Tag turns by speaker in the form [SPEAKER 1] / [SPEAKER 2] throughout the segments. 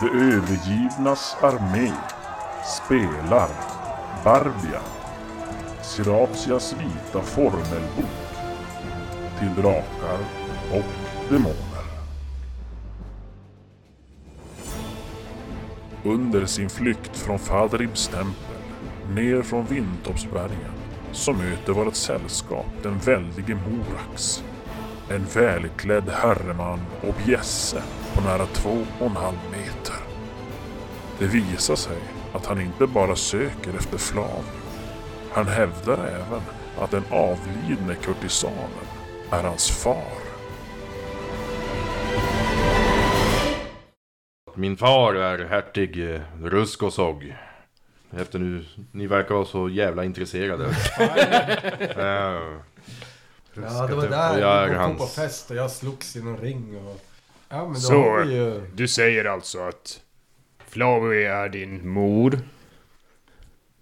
[SPEAKER 1] De övergivnas armé spelar Barbia, Siratias vita formelbok till drakar och demoner. Under sin flykt från Fadribs tempel ner från Vindtoppsbergen så möter vårt sällskap den väldige Morax. En välklädd herreman och bjässe på nära två och en halv meter. Det visar sig att han inte bara söker efter Flavio. Han hävdar även att den avlidne kurtisanen är hans far.
[SPEAKER 2] Min far är hertig eh, Ruskosog. Efter nu, ni verkar vara så jävla intresserade. Eh,
[SPEAKER 3] Ja, det var
[SPEAKER 4] typ.
[SPEAKER 2] Ruskate-
[SPEAKER 3] där
[SPEAKER 2] och
[SPEAKER 3] jag
[SPEAKER 2] jag
[SPEAKER 3] kom
[SPEAKER 2] är
[SPEAKER 3] på
[SPEAKER 2] hans.
[SPEAKER 3] fest och jag slogs i någon ring och... Ja men då
[SPEAKER 5] Så.
[SPEAKER 3] har vi ju...
[SPEAKER 5] Du säger alltså att Flavio är din mor.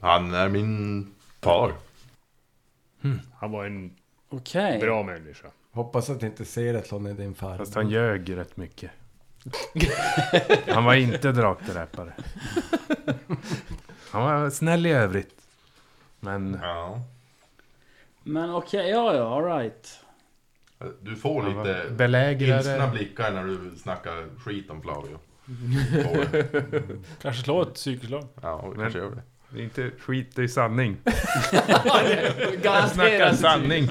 [SPEAKER 2] Han är min far.
[SPEAKER 5] Han var en
[SPEAKER 6] Okej.
[SPEAKER 5] bra människa.
[SPEAKER 3] Hoppas att ni inte ser det Lonny, din far.
[SPEAKER 4] Fast han ljög rätt mycket. Han var inte drakdräpare. Han var snäll i övrigt. Men
[SPEAKER 2] Ja.
[SPEAKER 6] Men okej, ja ja, alright.
[SPEAKER 2] Du får
[SPEAKER 4] han var
[SPEAKER 2] lite ilskna
[SPEAKER 4] belägrare.
[SPEAKER 2] blickar när du snackar skit om Flavio. Får det.
[SPEAKER 7] Kanske slå ett psykslag.
[SPEAKER 2] Ja, vi kanske gör det.
[SPEAKER 4] Det är inte skit, det är sanning. Han snackar
[SPEAKER 6] Garanterat.
[SPEAKER 4] sanning.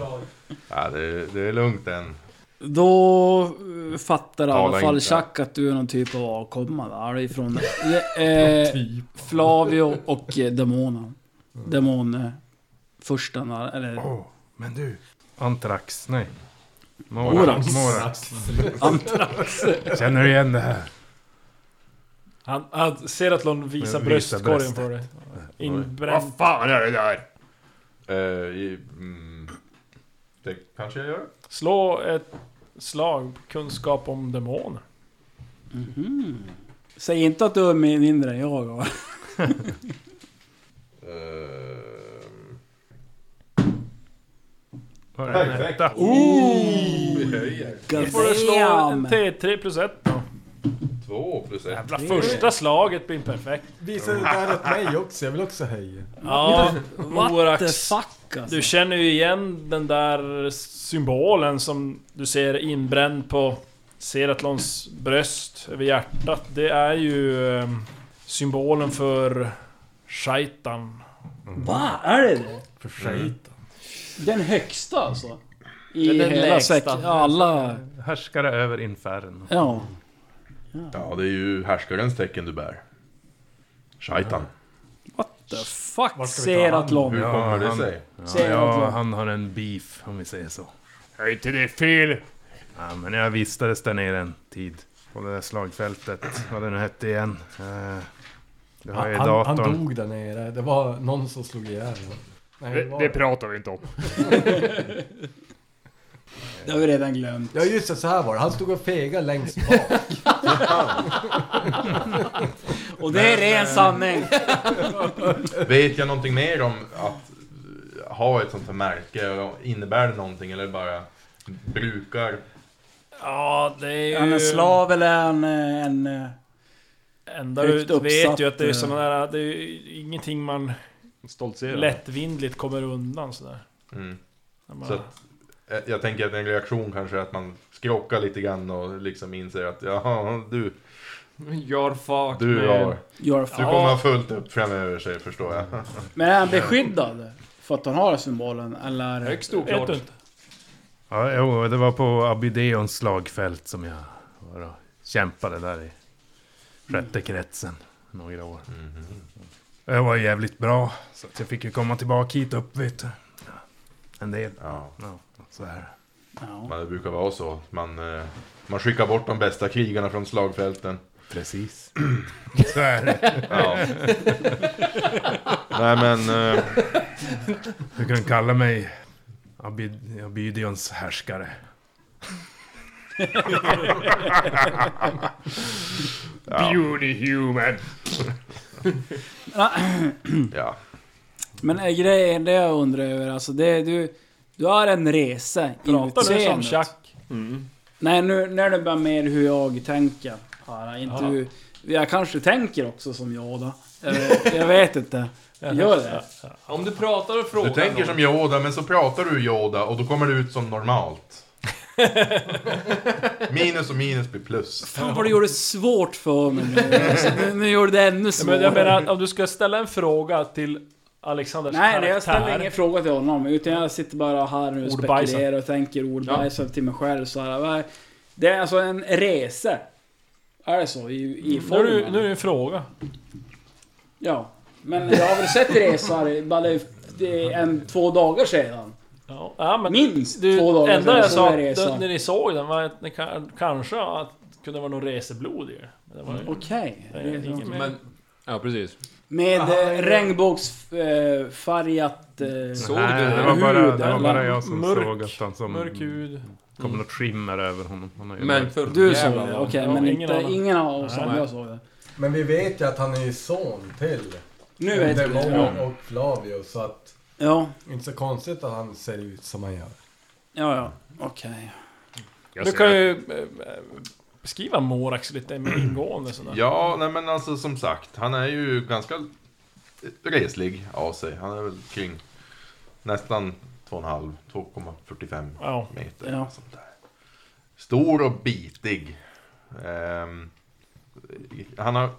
[SPEAKER 2] Ja, det, det är lugnt än.
[SPEAKER 6] Då eh, fattar i alla
[SPEAKER 2] Tala
[SPEAKER 6] fall
[SPEAKER 2] inte.
[SPEAKER 6] Chuck att du är någon typ av avkomma där ifrån eh,
[SPEAKER 7] typ
[SPEAKER 6] Flavio och eh, demonen. Demon... Första där, eller
[SPEAKER 4] Åh, men du. Antrax, nej.
[SPEAKER 6] Morax.
[SPEAKER 4] Morax.
[SPEAKER 6] Antrax.
[SPEAKER 4] Känner du igen det här?
[SPEAKER 7] Han, han ser att någon visar
[SPEAKER 4] Men visa
[SPEAKER 7] bröstkorgen
[SPEAKER 4] bröstet.
[SPEAKER 7] på dig. Inbränd.
[SPEAKER 4] Vad fan är det där?
[SPEAKER 2] Eh, i- mm, det kanske jag gör.
[SPEAKER 7] Slå ett slag på kunskap om demoner.
[SPEAKER 6] Säg inte att du är min- mindre än jag. va?
[SPEAKER 2] Eh,
[SPEAKER 4] Vad är det?
[SPEAKER 2] Perfekt! Vi höjer.
[SPEAKER 7] Då får du slå en
[SPEAKER 6] Goddamn.
[SPEAKER 7] T3 plus 1 då.
[SPEAKER 2] Två plus ett.
[SPEAKER 7] Jävla första slaget blir perfekt.
[SPEAKER 3] Visa det där åt mig också, jag vill också höja.
[SPEAKER 7] Ja,
[SPEAKER 6] What the
[SPEAKER 7] Morax.
[SPEAKER 6] fuck alltså.
[SPEAKER 7] Du känner ju igen den där symbolen som du ser inbränd på Seratlons bröst över hjärtat. Det är ju eh, symbolen för Shaitan.
[SPEAKER 6] Va? Är det det?
[SPEAKER 3] För skit.
[SPEAKER 6] Den högsta alltså? I
[SPEAKER 7] Den
[SPEAKER 6] hela
[SPEAKER 7] lägsta.
[SPEAKER 6] säcken? Alla...
[SPEAKER 4] Härskare över infären.
[SPEAKER 6] Ja.
[SPEAKER 2] Ja, det är ju härskarens tecken du bär. Shaitan.
[SPEAKER 6] What the
[SPEAKER 3] ska
[SPEAKER 6] fuck?
[SPEAKER 3] vi ta hand om?
[SPEAKER 6] Seratlon.
[SPEAKER 2] Hur
[SPEAKER 4] Ja,
[SPEAKER 2] kommer det
[SPEAKER 4] han-
[SPEAKER 2] sig?
[SPEAKER 4] Ja,
[SPEAKER 6] Säger
[SPEAKER 4] ja,
[SPEAKER 6] något.
[SPEAKER 4] han har en beef, om vi säger så. Är inte det fel? Ja, men jag vistades där nere en tid. På det där slagfältet, vad det nu hette igen. Eh, Det har jag i
[SPEAKER 3] Han, han
[SPEAKER 4] datorn.
[SPEAKER 3] dog där nere, det var någon som slog ihjäl honom. Nej, det
[SPEAKER 5] Det,
[SPEAKER 3] var...
[SPEAKER 5] det pratar vi inte om.
[SPEAKER 6] Det har vi redan glömt.
[SPEAKER 3] Ja just det, så här var det. Han stod och fegade längst bak.
[SPEAKER 6] Och det är ren sanning.
[SPEAKER 2] Vet jag någonting mer om att eh, ha ett sånt här märke? Innebär det någonting eller bara brukar?
[SPEAKER 7] Ja, det är ju...
[SPEAKER 6] Är han en slav eller är han eh, en... eh,
[SPEAKER 7] Enda
[SPEAKER 6] Högt
[SPEAKER 7] du vet
[SPEAKER 6] uppsatt,
[SPEAKER 7] ju att det är
[SPEAKER 6] eh,
[SPEAKER 7] sådana där... Det är ju ingenting man
[SPEAKER 5] Stoltserar.
[SPEAKER 7] lättvindligt kommer undan sådär.
[SPEAKER 2] Mm.
[SPEAKER 7] När man-
[SPEAKER 2] Så att, eh, jag tänker att en reaktion kanske är att man skrockar lite grann och liksom inser att jaha, du,
[SPEAKER 7] You're fucked
[SPEAKER 2] du, har,
[SPEAKER 6] Gör
[SPEAKER 2] du kommer ha fullt upp framöver sig förstår jag.
[SPEAKER 6] Men är han beskyddad? För att han har symbolen? Eller?
[SPEAKER 7] Högst oklart. Vet du inte.
[SPEAKER 4] Ja, jo, det var på Abideons slagfält som jag var och kämpade där i sjätte kretsen. Några år. Jag var jävligt bra, så att jag fick ju komma tillbaka hit upp, vet du. Ja, En del.
[SPEAKER 2] Ja.
[SPEAKER 4] Ja, så här.
[SPEAKER 6] Ja.
[SPEAKER 2] Men det brukar vara så. Man, eh, man skickar bort de bästa krigarna från slagfälten.
[SPEAKER 4] Precis. så är det.
[SPEAKER 2] Ja. Nej men... eh,
[SPEAKER 4] Du kan kalla mig Abid- Abidions härskare.
[SPEAKER 5] Beauty human.
[SPEAKER 2] ja.
[SPEAKER 6] Men är grejen det jag undrar över, alltså det är du... Du har en resa i
[SPEAKER 7] Pratar du som
[SPEAKER 6] utseendet.
[SPEAKER 7] Chuck?
[SPEAKER 6] Nej, nu, nu är det bara mer hur jag tänker. Här. Inte hur, Jag kanske tänker också som Yoda. Jag, jag vet inte. Gör det?
[SPEAKER 8] Om du pratar och frågar
[SPEAKER 2] Du tänker
[SPEAKER 8] någon-
[SPEAKER 2] som Yoda, men så pratar du Yoda och då kommer det ut som normalt. minus och minus blir plus.
[SPEAKER 6] Fan vad du gjorde det svårt för mig nu. Alltså, nu. Nu gjorde du det ännu
[SPEAKER 7] Ja,
[SPEAKER 6] svårare.
[SPEAKER 7] Men jag menar, om du ska ställa en fråga till Alexanders
[SPEAKER 6] Nej, nej,
[SPEAKER 7] karaktär.
[SPEAKER 6] jag ställer ingen fråga till honom. Utan jag sitter bara här nu och
[SPEAKER 7] Ordbajsar.
[SPEAKER 6] spekulerar och tänker ordbajsar till mig själv. Så här, vad är- det är alltså en resa. Är det så? I, i
[SPEAKER 7] Nu är,
[SPEAKER 6] formen?
[SPEAKER 7] det, nu är det en fråga.
[SPEAKER 6] Ja. Men jag har väl sett resor bara det- det är en två dagar sedan.
[SPEAKER 7] Ja, ja, men
[SPEAKER 6] Minst
[SPEAKER 7] du,
[SPEAKER 6] två dagar
[SPEAKER 7] enda
[SPEAKER 6] sedan
[SPEAKER 7] jag
[SPEAKER 6] såg
[SPEAKER 7] sa
[SPEAKER 6] jag
[SPEAKER 7] då,
[SPEAKER 6] resan.
[SPEAKER 7] när ni såg den var att ni kan, kanske att det kunde vara någon reseblod i det. Men det var ju...
[SPEAKER 6] Okej.
[SPEAKER 7] Nej,
[SPEAKER 6] resan.
[SPEAKER 7] ingen mer.
[SPEAKER 8] Men, ja precis.
[SPEAKER 6] Med eh, regnbågsfärgat... Eh,
[SPEAKER 8] Så. Såg du
[SPEAKER 4] Nej, det
[SPEAKER 8] det?
[SPEAKER 4] var bara, det var
[SPEAKER 7] Huden,
[SPEAKER 4] bara jag som
[SPEAKER 7] mörk-
[SPEAKER 4] såg att han som...
[SPEAKER 7] Mörk hud.
[SPEAKER 4] kom något skimmer över honom. Han har ju
[SPEAKER 8] Men för
[SPEAKER 6] du såg
[SPEAKER 8] jävlar,
[SPEAKER 6] det?
[SPEAKER 8] vad-
[SPEAKER 6] Okej,
[SPEAKER 7] Ja,
[SPEAKER 6] men
[SPEAKER 7] ingen
[SPEAKER 6] inte,
[SPEAKER 7] annan.
[SPEAKER 6] ingen av oss
[SPEAKER 7] Nej.
[SPEAKER 6] andra såg det.
[SPEAKER 3] Men vi vet ju att han är son till
[SPEAKER 6] Nu vet vi
[SPEAKER 3] Demon
[SPEAKER 6] det.
[SPEAKER 3] och Flavio så att
[SPEAKER 6] Ja,
[SPEAKER 3] inte så konstigt att han ser ut som han gör.
[SPEAKER 6] ja, ja. Okej.
[SPEAKER 5] Jag
[SPEAKER 7] Du
[SPEAKER 5] ser
[SPEAKER 7] kan
[SPEAKER 5] att-
[SPEAKER 7] ju eh, beskriva Morax lite mer ingående sådär.
[SPEAKER 2] Ja, nej men alltså som sagt, han är ju ganska reslig av sig. Han är väl kring nästan 2,5, 2,45
[SPEAKER 7] Ja.
[SPEAKER 2] meter.
[SPEAKER 6] Ja.
[SPEAKER 2] Sånt där. Stor och bitig. Ehm, han har,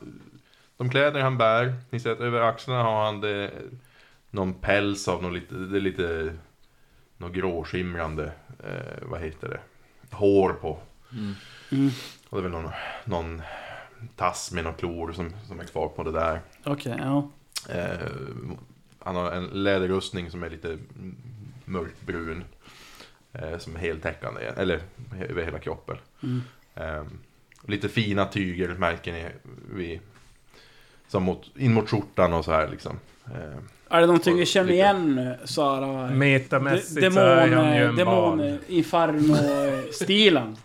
[SPEAKER 2] de kläder han bär, ni ser att över axlarna har han det, någon päls av något lite, det är lite något gråskimrande, eh, vad heter det, hår på.
[SPEAKER 6] Mm.
[SPEAKER 2] Och det är väl någon, någon tass med några klor som, som är kvar på det där.
[SPEAKER 6] Okej, ja.
[SPEAKER 2] Eh, han har en läderrustning som är lite mm, mörkbrun. Eh, som är heltäckande, eller he- över hela kroppen.
[SPEAKER 6] Mm.
[SPEAKER 2] Eh, lite fina tyger märker ni vid, som mot, in mot skjortan och så här liksom. Eh,
[SPEAKER 6] Är det någonting vi
[SPEAKER 2] Och
[SPEAKER 6] känner
[SPEAKER 2] lite-
[SPEAKER 6] igen nu? Såhär... eh,
[SPEAKER 4] Metamässigt
[SPEAKER 6] de-
[SPEAKER 4] så är han ju
[SPEAKER 6] Demon...
[SPEAKER 4] en barn.
[SPEAKER 6] Demon... Inferno-stilen?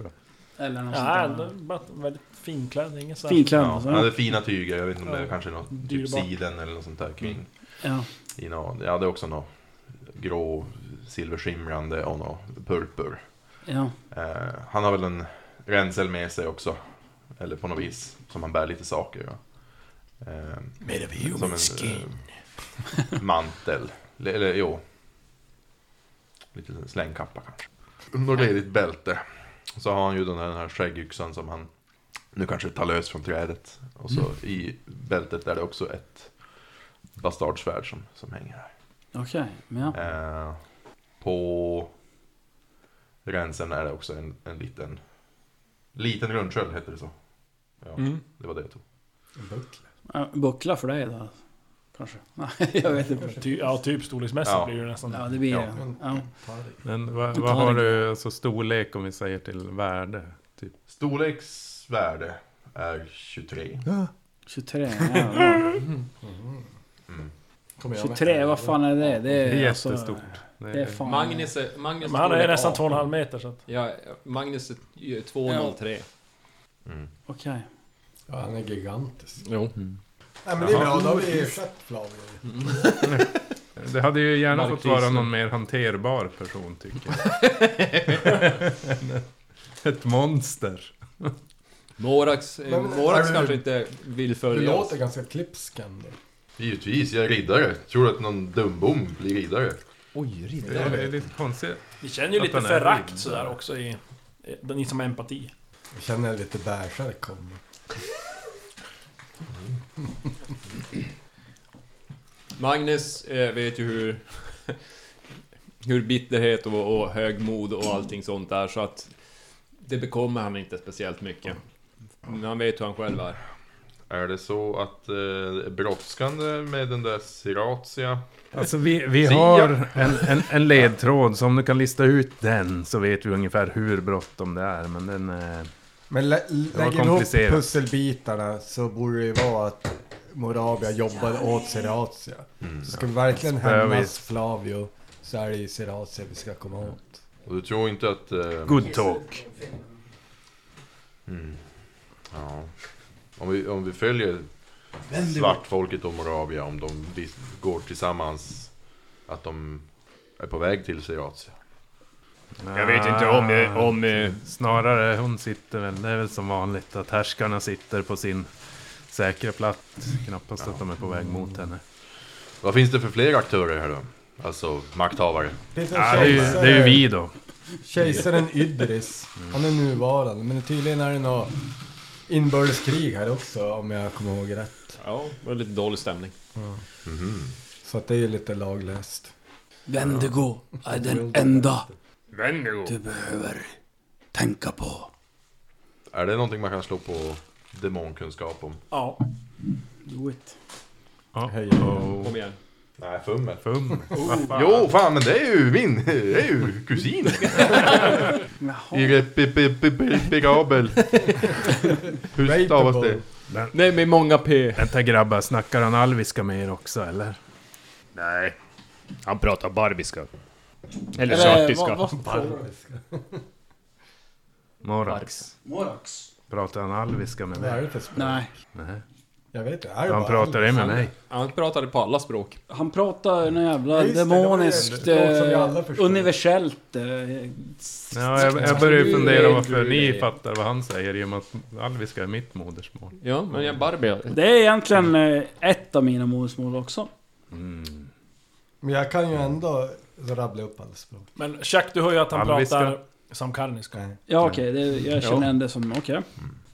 [SPEAKER 6] Eller något
[SPEAKER 7] Ja,
[SPEAKER 6] sånt
[SPEAKER 7] det
[SPEAKER 6] där.
[SPEAKER 7] var väldigt finklädd. Ingen sån här-
[SPEAKER 6] Finklädd
[SPEAKER 2] ja,
[SPEAKER 6] alltså.
[SPEAKER 2] han hade fina tyger, jag vet inte om det
[SPEAKER 7] Ja.
[SPEAKER 2] är kanske något typ
[SPEAKER 7] Dyrbart. Mm.
[SPEAKER 2] siden eller något sånt där kring.
[SPEAKER 6] Ja.
[SPEAKER 2] I någon, ja, det är också något grå, silverskimrande och något purpur.
[SPEAKER 6] Ja.
[SPEAKER 2] Eh, han har väl en ränsel med sig också. Eller på något vis. Som han bär lite saker. Ja. Eh,
[SPEAKER 5] Made of human
[SPEAKER 2] som en
[SPEAKER 5] skin.
[SPEAKER 2] eh, mantel. Eller, eller jo. Lite slängkappa kanske. Något ledigt bälte. Och så har han ju den här, den här skäggyxan som han nu kanske tar lös från trädet. Och så i bältet är det också ett bastardsvärd som, som hänger här.
[SPEAKER 6] Okej, men ja.
[SPEAKER 2] Eh, på gränsen är det också en, en liten liten rundsköld, heter det så? Ja,
[SPEAKER 7] Mm.
[SPEAKER 2] det var det jag tog.
[SPEAKER 3] En buckla.
[SPEAKER 6] Ja, Buckla för dig då? Kanske? Nej, jag vet inte.
[SPEAKER 7] Ty, ja, typ storleksmässigt
[SPEAKER 2] Ja.
[SPEAKER 7] blir det nästan.
[SPEAKER 6] Ja, det blir
[SPEAKER 2] Ja.
[SPEAKER 6] det. Ja.
[SPEAKER 4] Men vad,
[SPEAKER 6] Ta
[SPEAKER 4] vad har
[SPEAKER 6] den.
[SPEAKER 4] du, alltså storlek om vi säger till värde? Typ.
[SPEAKER 2] Storleksvärde är 23.
[SPEAKER 6] 23, ja.
[SPEAKER 2] Mm.
[SPEAKER 3] Mhm. Kommer jag med?
[SPEAKER 6] 23, vad fan är det? Det
[SPEAKER 4] Det är
[SPEAKER 6] är
[SPEAKER 4] jättestort.
[SPEAKER 6] Alltså, det är fan...
[SPEAKER 8] Magnus är... Magnus
[SPEAKER 7] Men han är
[SPEAKER 8] storlek
[SPEAKER 7] nästan
[SPEAKER 8] 18.
[SPEAKER 7] 2,5 meter så att...
[SPEAKER 8] Ja, Magnus är ju 2,03.
[SPEAKER 2] Mm.
[SPEAKER 6] Okej.
[SPEAKER 3] Ja, han är gigantisk.
[SPEAKER 8] Jo.
[SPEAKER 3] Nej men det är bra, då har vi ersatt Flavio.
[SPEAKER 4] Det hade ju gärna
[SPEAKER 8] Mark
[SPEAKER 4] fått vara
[SPEAKER 8] Leeson.
[SPEAKER 4] någon mer hanterbar person tycker jag. Ett monster.
[SPEAKER 8] Morax, eh,
[SPEAKER 3] Men- men-
[SPEAKER 8] Morax
[SPEAKER 3] är du-
[SPEAKER 8] kanske inte vill
[SPEAKER 3] Du
[SPEAKER 8] följa oss.
[SPEAKER 3] låter ganska klipsk ändå.
[SPEAKER 2] Givetvis, jag är riddare. Tror du att någon dumbom blir riddare?
[SPEAKER 8] Oj,
[SPEAKER 4] Det är, det är lite konstigt.
[SPEAKER 7] Vi känner ju
[SPEAKER 4] Att
[SPEAKER 7] lite
[SPEAKER 4] han är
[SPEAKER 7] förakt
[SPEAKER 4] blind.
[SPEAKER 7] sådär också i... i- Ni som har empati.
[SPEAKER 3] Jag känner lite bärsare komma.
[SPEAKER 8] Magnus eh, vet ju hur... hur bitterhet och, och högmod och allting sånt där så att... Det bekommer han inte speciellt mycket. Men han vet hur han själv är.
[SPEAKER 2] Är det så att eh, det är brådskande med den där Siratia?
[SPEAKER 4] Alltså vi, vi
[SPEAKER 2] Sia.
[SPEAKER 4] har en, en, en ledtråd, så om du kan lista ut den så vet vi ungefär hur bråttom det är. Men den... Eh,
[SPEAKER 3] Men lä lä-
[SPEAKER 4] Det var
[SPEAKER 3] lägger du ihop
[SPEAKER 4] komplicerat.
[SPEAKER 3] pusselbitarna så borde det ju vara att Morabia jobbade åt Seratia. Så ska vi verkligen
[SPEAKER 4] Mm. Spövis.
[SPEAKER 3] hämnas Flavio så är det ju Seratia vi ska komma åt.
[SPEAKER 2] Och du tror inte att... Eh,
[SPEAKER 4] good talk.
[SPEAKER 2] Mm. Ja. Om vi, om vi följer svartfolket och Moravia, om de vis- går tillsammans, att de är på väg till Siratia.
[SPEAKER 5] Jag vet inte om... eh,
[SPEAKER 4] Ah,
[SPEAKER 5] om eh,
[SPEAKER 4] Snarare hon sitter väl, det är väl som vanligt att härskarna sitter på sin säkra platt. Knappast att de är på väg mot henne.
[SPEAKER 2] Vad finns det för fler aktörer här då? Alltså makthavare.
[SPEAKER 3] Peter
[SPEAKER 4] Ja, det, är ju, det är ju vi då.
[SPEAKER 3] Kejsaren Idris. Han är nuvarande, men tydligen är det något inbördeskrig här också om jag kommer ihåg rätt.
[SPEAKER 8] Ja, det var lite dålig stämning.
[SPEAKER 3] Så att det är ju lite laglöst.
[SPEAKER 6] Wendigo är den enda
[SPEAKER 5] Wendigo.
[SPEAKER 6] du behöver tänka på.
[SPEAKER 2] Är det någonting man kan slå på demonkunskap om?
[SPEAKER 7] Ja.
[SPEAKER 6] Do it.
[SPEAKER 4] Ja.
[SPEAKER 3] Hej.
[SPEAKER 8] Kom igen.
[SPEAKER 2] Nej, fummel.
[SPEAKER 4] Fum.
[SPEAKER 2] Jo, fan men det är ju min, det är ju kusin.
[SPEAKER 6] Jaha.
[SPEAKER 2] Irreparabel. Hur stavas det?
[SPEAKER 8] Nej, med många P.
[SPEAKER 4] Vänta grabbar, snackar han alviska med er också eller?
[SPEAKER 5] Nej. Han pratar barbiska. Eller
[SPEAKER 6] Eller,
[SPEAKER 5] sartiska.
[SPEAKER 6] vad, vad,
[SPEAKER 4] Morax.
[SPEAKER 6] Morax?
[SPEAKER 4] Pratar han alviska med
[SPEAKER 3] Vad är
[SPEAKER 4] mig?
[SPEAKER 3] det för språk?
[SPEAKER 6] Nej,
[SPEAKER 4] Nej.
[SPEAKER 3] Jag vet inte. Är det
[SPEAKER 4] Han
[SPEAKER 3] bara
[SPEAKER 4] pratar det med mig.
[SPEAKER 8] Han pratade på alla språk.
[SPEAKER 6] han pratar något jävla
[SPEAKER 3] Just det, det var ju ett
[SPEAKER 6] demoniskt,
[SPEAKER 3] språk som vi alla
[SPEAKER 6] eh,
[SPEAKER 3] förstår.
[SPEAKER 6] universellt. eh, alltså,
[SPEAKER 4] Ja, jag, jag börjar ju fundera
[SPEAKER 8] Du-
[SPEAKER 4] varför
[SPEAKER 8] du-
[SPEAKER 4] ni fattar vad han säger i och med att alviska är mitt modersmål.
[SPEAKER 8] Ja, men jag Barbie.
[SPEAKER 6] Det är egentligen eh, ett av mina modersmål också.
[SPEAKER 3] Men jag kan ju ändå rabbla upp alla språk.
[SPEAKER 7] Men Chuck, du hör ju att han
[SPEAKER 4] Alviska.
[SPEAKER 7] pratar samkarniska.
[SPEAKER 6] Ja okej, det- jag känner igen det som, okej.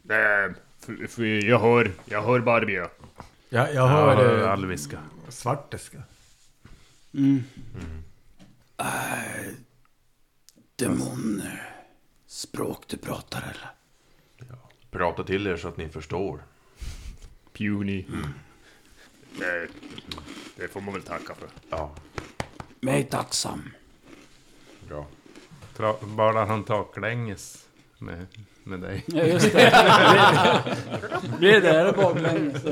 [SPEAKER 5] Nej, f- f- jag hör, jag hör barbie.
[SPEAKER 3] Jag, jag
[SPEAKER 4] Ja,
[SPEAKER 3] hör eh,
[SPEAKER 4] alviska.
[SPEAKER 3] svartiska.
[SPEAKER 6] Mm. Äh, demoner. Språk du pratar eller?
[SPEAKER 2] Prata till er så att ni förstår.
[SPEAKER 5] Puny. Nej, det får man väl tacka för.
[SPEAKER 2] Ja,
[SPEAKER 6] Mig tacksam.
[SPEAKER 2] bra.
[SPEAKER 4] Tra- Bara han taklänges med, med dig.
[SPEAKER 6] Ja just det. Blir det där baklänges?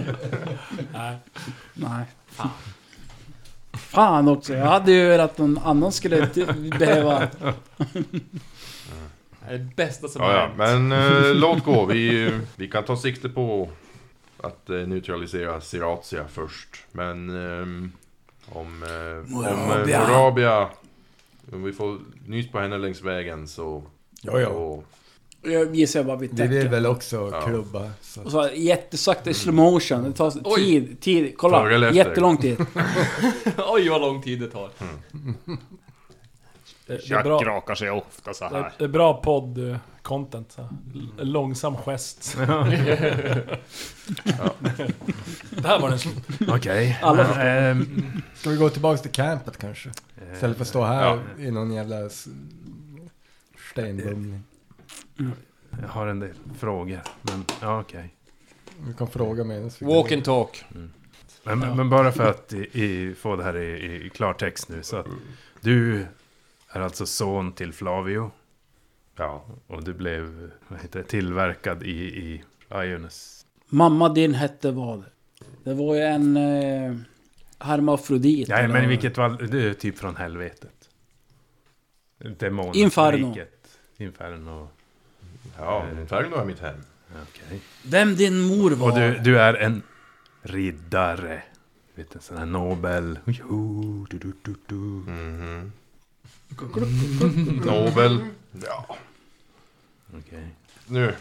[SPEAKER 7] Nej.
[SPEAKER 6] Nej. Fan också, jag hade ju velat att någon annan skulle t- behöva...
[SPEAKER 8] Det är det bästa som
[SPEAKER 2] Ja,
[SPEAKER 8] har
[SPEAKER 2] ja.
[SPEAKER 8] hänt.
[SPEAKER 2] Men eh, låt gå. Vi, eh, vi kan ta sikte på att eh, neutralisera Siratia först. Men ehm, om, eh, om eh,
[SPEAKER 6] Morabia.
[SPEAKER 2] Morabia... Om vi får nys på henne längs vägen så...
[SPEAKER 3] Ja, ja.
[SPEAKER 2] så-
[SPEAKER 6] Jag gissar bara vid
[SPEAKER 3] Vi vill
[SPEAKER 6] täcket.
[SPEAKER 3] väl också
[SPEAKER 2] Ja.
[SPEAKER 3] klubba. Så.
[SPEAKER 6] Och så jättesakta i slow motion. Det tar
[SPEAKER 8] Oj.
[SPEAKER 6] tid, tid.
[SPEAKER 2] Före eller
[SPEAKER 6] Kolla,
[SPEAKER 2] efter?
[SPEAKER 6] jättelång tid.
[SPEAKER 8] Oj, vad lång tid det tar.
[SPEAKER 7] Det, det, är
[SPEAKER 5] Jack
[SPEAKER 7] bra,
[SPEAKER 5] rakar sig ofta så
[SPEAKER 7] det,
[SPEAKER 5] här.
[SPEAKER 7] det är bra podd-content. så här. L- Långsam gest. Där var den slut.
[SPEAKER 4] Okej.
[SPEAKER 6] Alla
[SPEAKER 4] men, ehm,
[SPEAKER 3] Ska vi gå tillbaks till campet kanske?
[SPEAKER 4] eh,
[SPEAKER 3] Istället för att stå här i någon jävla s- stenbumling.
[SPEAKER 4] eh, Jag har en del frågor. Men, ja, okej.
[SPEAKER 3] Du kan fråga mig.
[SPEAKER 8] Walk and talk.
[SPEAKER 4] Men, men- men bara för att i, i, få det här i, i klartext nu. Så att du är alltså son till Flavio.
[SPEAKER 2] Ja.
[SPEAKER 4] Och du blev vad heter det, tillverkad i, i Ionis.
[SPEAKER 6] Mamma din hette vad? Det var ju en... Eh, hermafrodit.
[SPEAKER 4] Nej,
[SPEAKER 6] eller-
[SPEAKER 4] men i vilket fall, du är typ från helvetet. Demonriket.
[SPEAKER 6] Inferno.
[SPEAKER 4] Inferno.
[SPEAKER 2] Ja, Inferno är mitt hem.
[SPEAKER 4] Okej.
[SPEAKER 6] Vem din mor var?
[SPEAKER 4] Och du, du är en riddare. Vet, en sån här Nobel. Jo, du, du, du, du.
[SPEAKER 2] Mhm. Nobel. Ja,
[SPEAKER 4] Okej.
[SPEAKER 2] nu.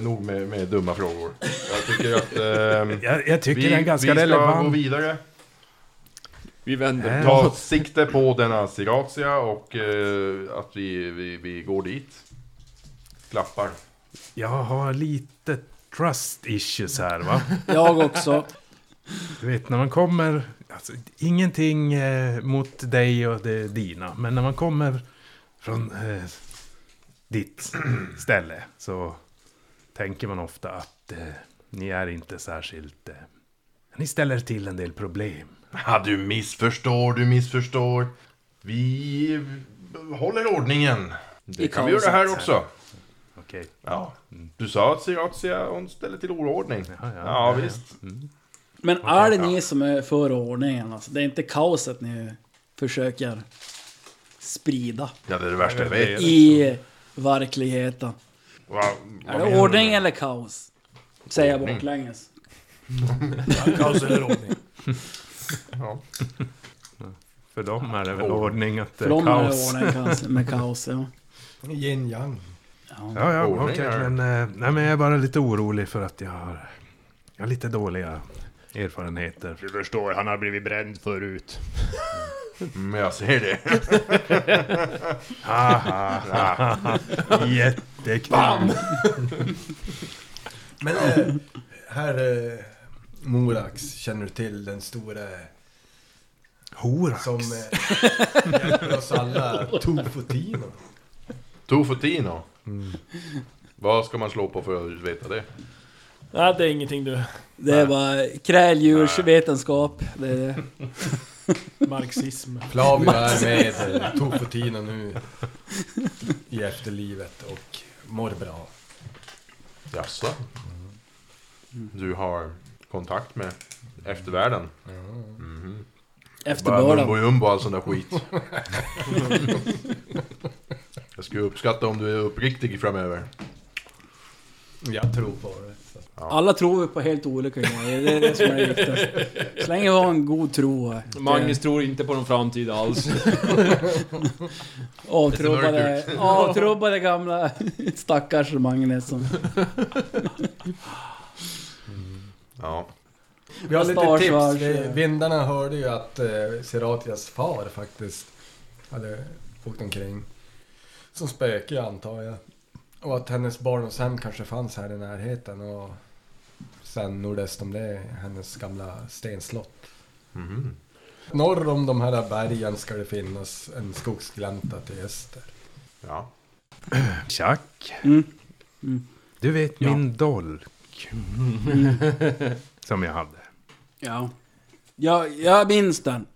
[SPEAKER 2] Nog med, med dumma frågor. Jag tycker att... ehm,
[SPEAKER 4] Jag, jag tycker
[SPEAKER 2] vi,
[SPEAKER 4] den är ganska
[SPEAKER 2] vi ska gå
[SPEAKER 4] relevant.
[SPEAKER 2] vidare.
[SPEAKER 8] Vi vänder.
[SPEAKER 4] Äh,
[SPEAKER 2] Ta sikte på denna Siratia och eh, att vi, vi, vi går dit. Klappar.
[SPEAKER 4] jag har lite trust issues här va.
[SPEAKER 6] Jag också.
[SPEAKER 4] Du vet när man kommer, alltså, ingenting eh, mot dig och det dina, men när man kommer från eh, ditt ställe så tänker man ofta att eh, ni är inte särskilt... Eh, ni ställer till en del problem.
[SPEAKER 2] Ja, du missförstår, du missförstår. Vi håller ordningen. Det
[SPEAKER 6] I
[SPEAKER 2] kan vi göra här
[SPEAKER 6] kaoset.
[SPEAKER 2] också.
[SPEAKER 4] Okej.
[SPEAKER 2] Ja. Du sa att Siratia hon ställer till oordning. Ja,
[SPEAKER 4] Ja, ja,
[SPEAKER 2] visst.
[SPEAKER 6] Men är det ni som är för ordningen? Alltså, det är inte kaoset ni försöker sprida
[SPEAKER 2] Ja, det är det värsta jag vet.
[SPEAKER 6] i verkligheten.
[SPEAKER 2] Va,
[SPEAKER 6] Är det ordning eller kaos? Säger jag baklänges.
[SPEAKER 7] Kaos eller ordning.
[SPEAKER 2] ja.
[SPEAKER 4] För dem är det väl ordning att det
[SPEAKER 6] För
[SPEAKER 4] är
[SPEAKER 6] dem är det
[SPEAKER 4] kaos.
[SPEAKER 6] ordning kaos- med kaos, ja.
[SPEAKER 3] Yin yang.
[SPEAKER 4] Ja, ja,
[SPEAKER 2] Ordning
[SPEAKER 4] okej.
[SPEAKER 2] är det.
[SPEAKER 4] men, eh, nej, men jag är bara lite orolig för att jag har... Jag har lite dåliga erfarenheter.
[SPEAKER 5] Du förstår, han har blivit bränd förut.
[SPEAKER 2] Men jag ser det.
[SPEAKER 4] Ha, ha, ha, ha. Jättekul! Bam!
[SPEAKER 3] Men eh, herr eh, Morax, känner du till den stora
[SPEAKER 4] Horax!
[SPEAKER 3] som eh, hjälper oss alla? Tofotino.
[SPEAKER 2] Tofutino. Vad ska man slå på för att veta det?
[SPEAKER 7] Nej, det är ingenting du...
[SPEAKER 6] Det är bara kräldjursvetenskap. Det är det.
[SPEAKER 7] Marxism.
[SPEAKER 3] Flavio är med eh, Tofotino nu i efterlivet och mår bra.
[SPEAKER 2] Jaså? Mm. Du har kontakt med eftervärlden? Mhm. Bara mumbo
[SPEAKER 6] Efterbördan.
[SPEAKER 2] jumbo och all sån där skit. Jag skulle uppskatta om du är uppriktig framöver.
[SPEAKER 3] Jag tror på det. Så.
[SPEAKER 6] Alla tror vi på helt olika grejer. Det är det som är viktigt. Så länge vi har en god tro. eh,
[SPEAKER 8] Magnus tror inte på någon framtid alls.
[SPEAKER 6] Avtrubbade, avtrubbade gamla stackars Magnus som...
[SPEAKER 2] Ja.
[SPEAKER 3] Vi har lite
[SPEAKER 6] Star Wars,
[SPEAKER 3] tips. Vi-
[SPEAKER 6] eh.
[SPEAKER 3] Vindarna hörde ju att eh, Seratias far faktiskt hade åkt omkring. Som spöke antar jag. Och att hennes barndomshem kanske fanns här i närheten. Och sen nordöst om det, hennes gamla stenslott.
[SPEAKER 2] Mhm.
[SPEAKER 3] Norr om de här bergen ska det finnas en skogsglänta till öster.
[SPEAKER 2] Ja.
[SPEAKER 4] Tjack!
[SPEAKER 6] Mm.
[SPEAKER 4] Du vet
[SPEAKER 2] Ja.
[SPEAKER 4] min dolk. Som jag hade.
[SPEAKER 6] Ja. Jag, jag minns den.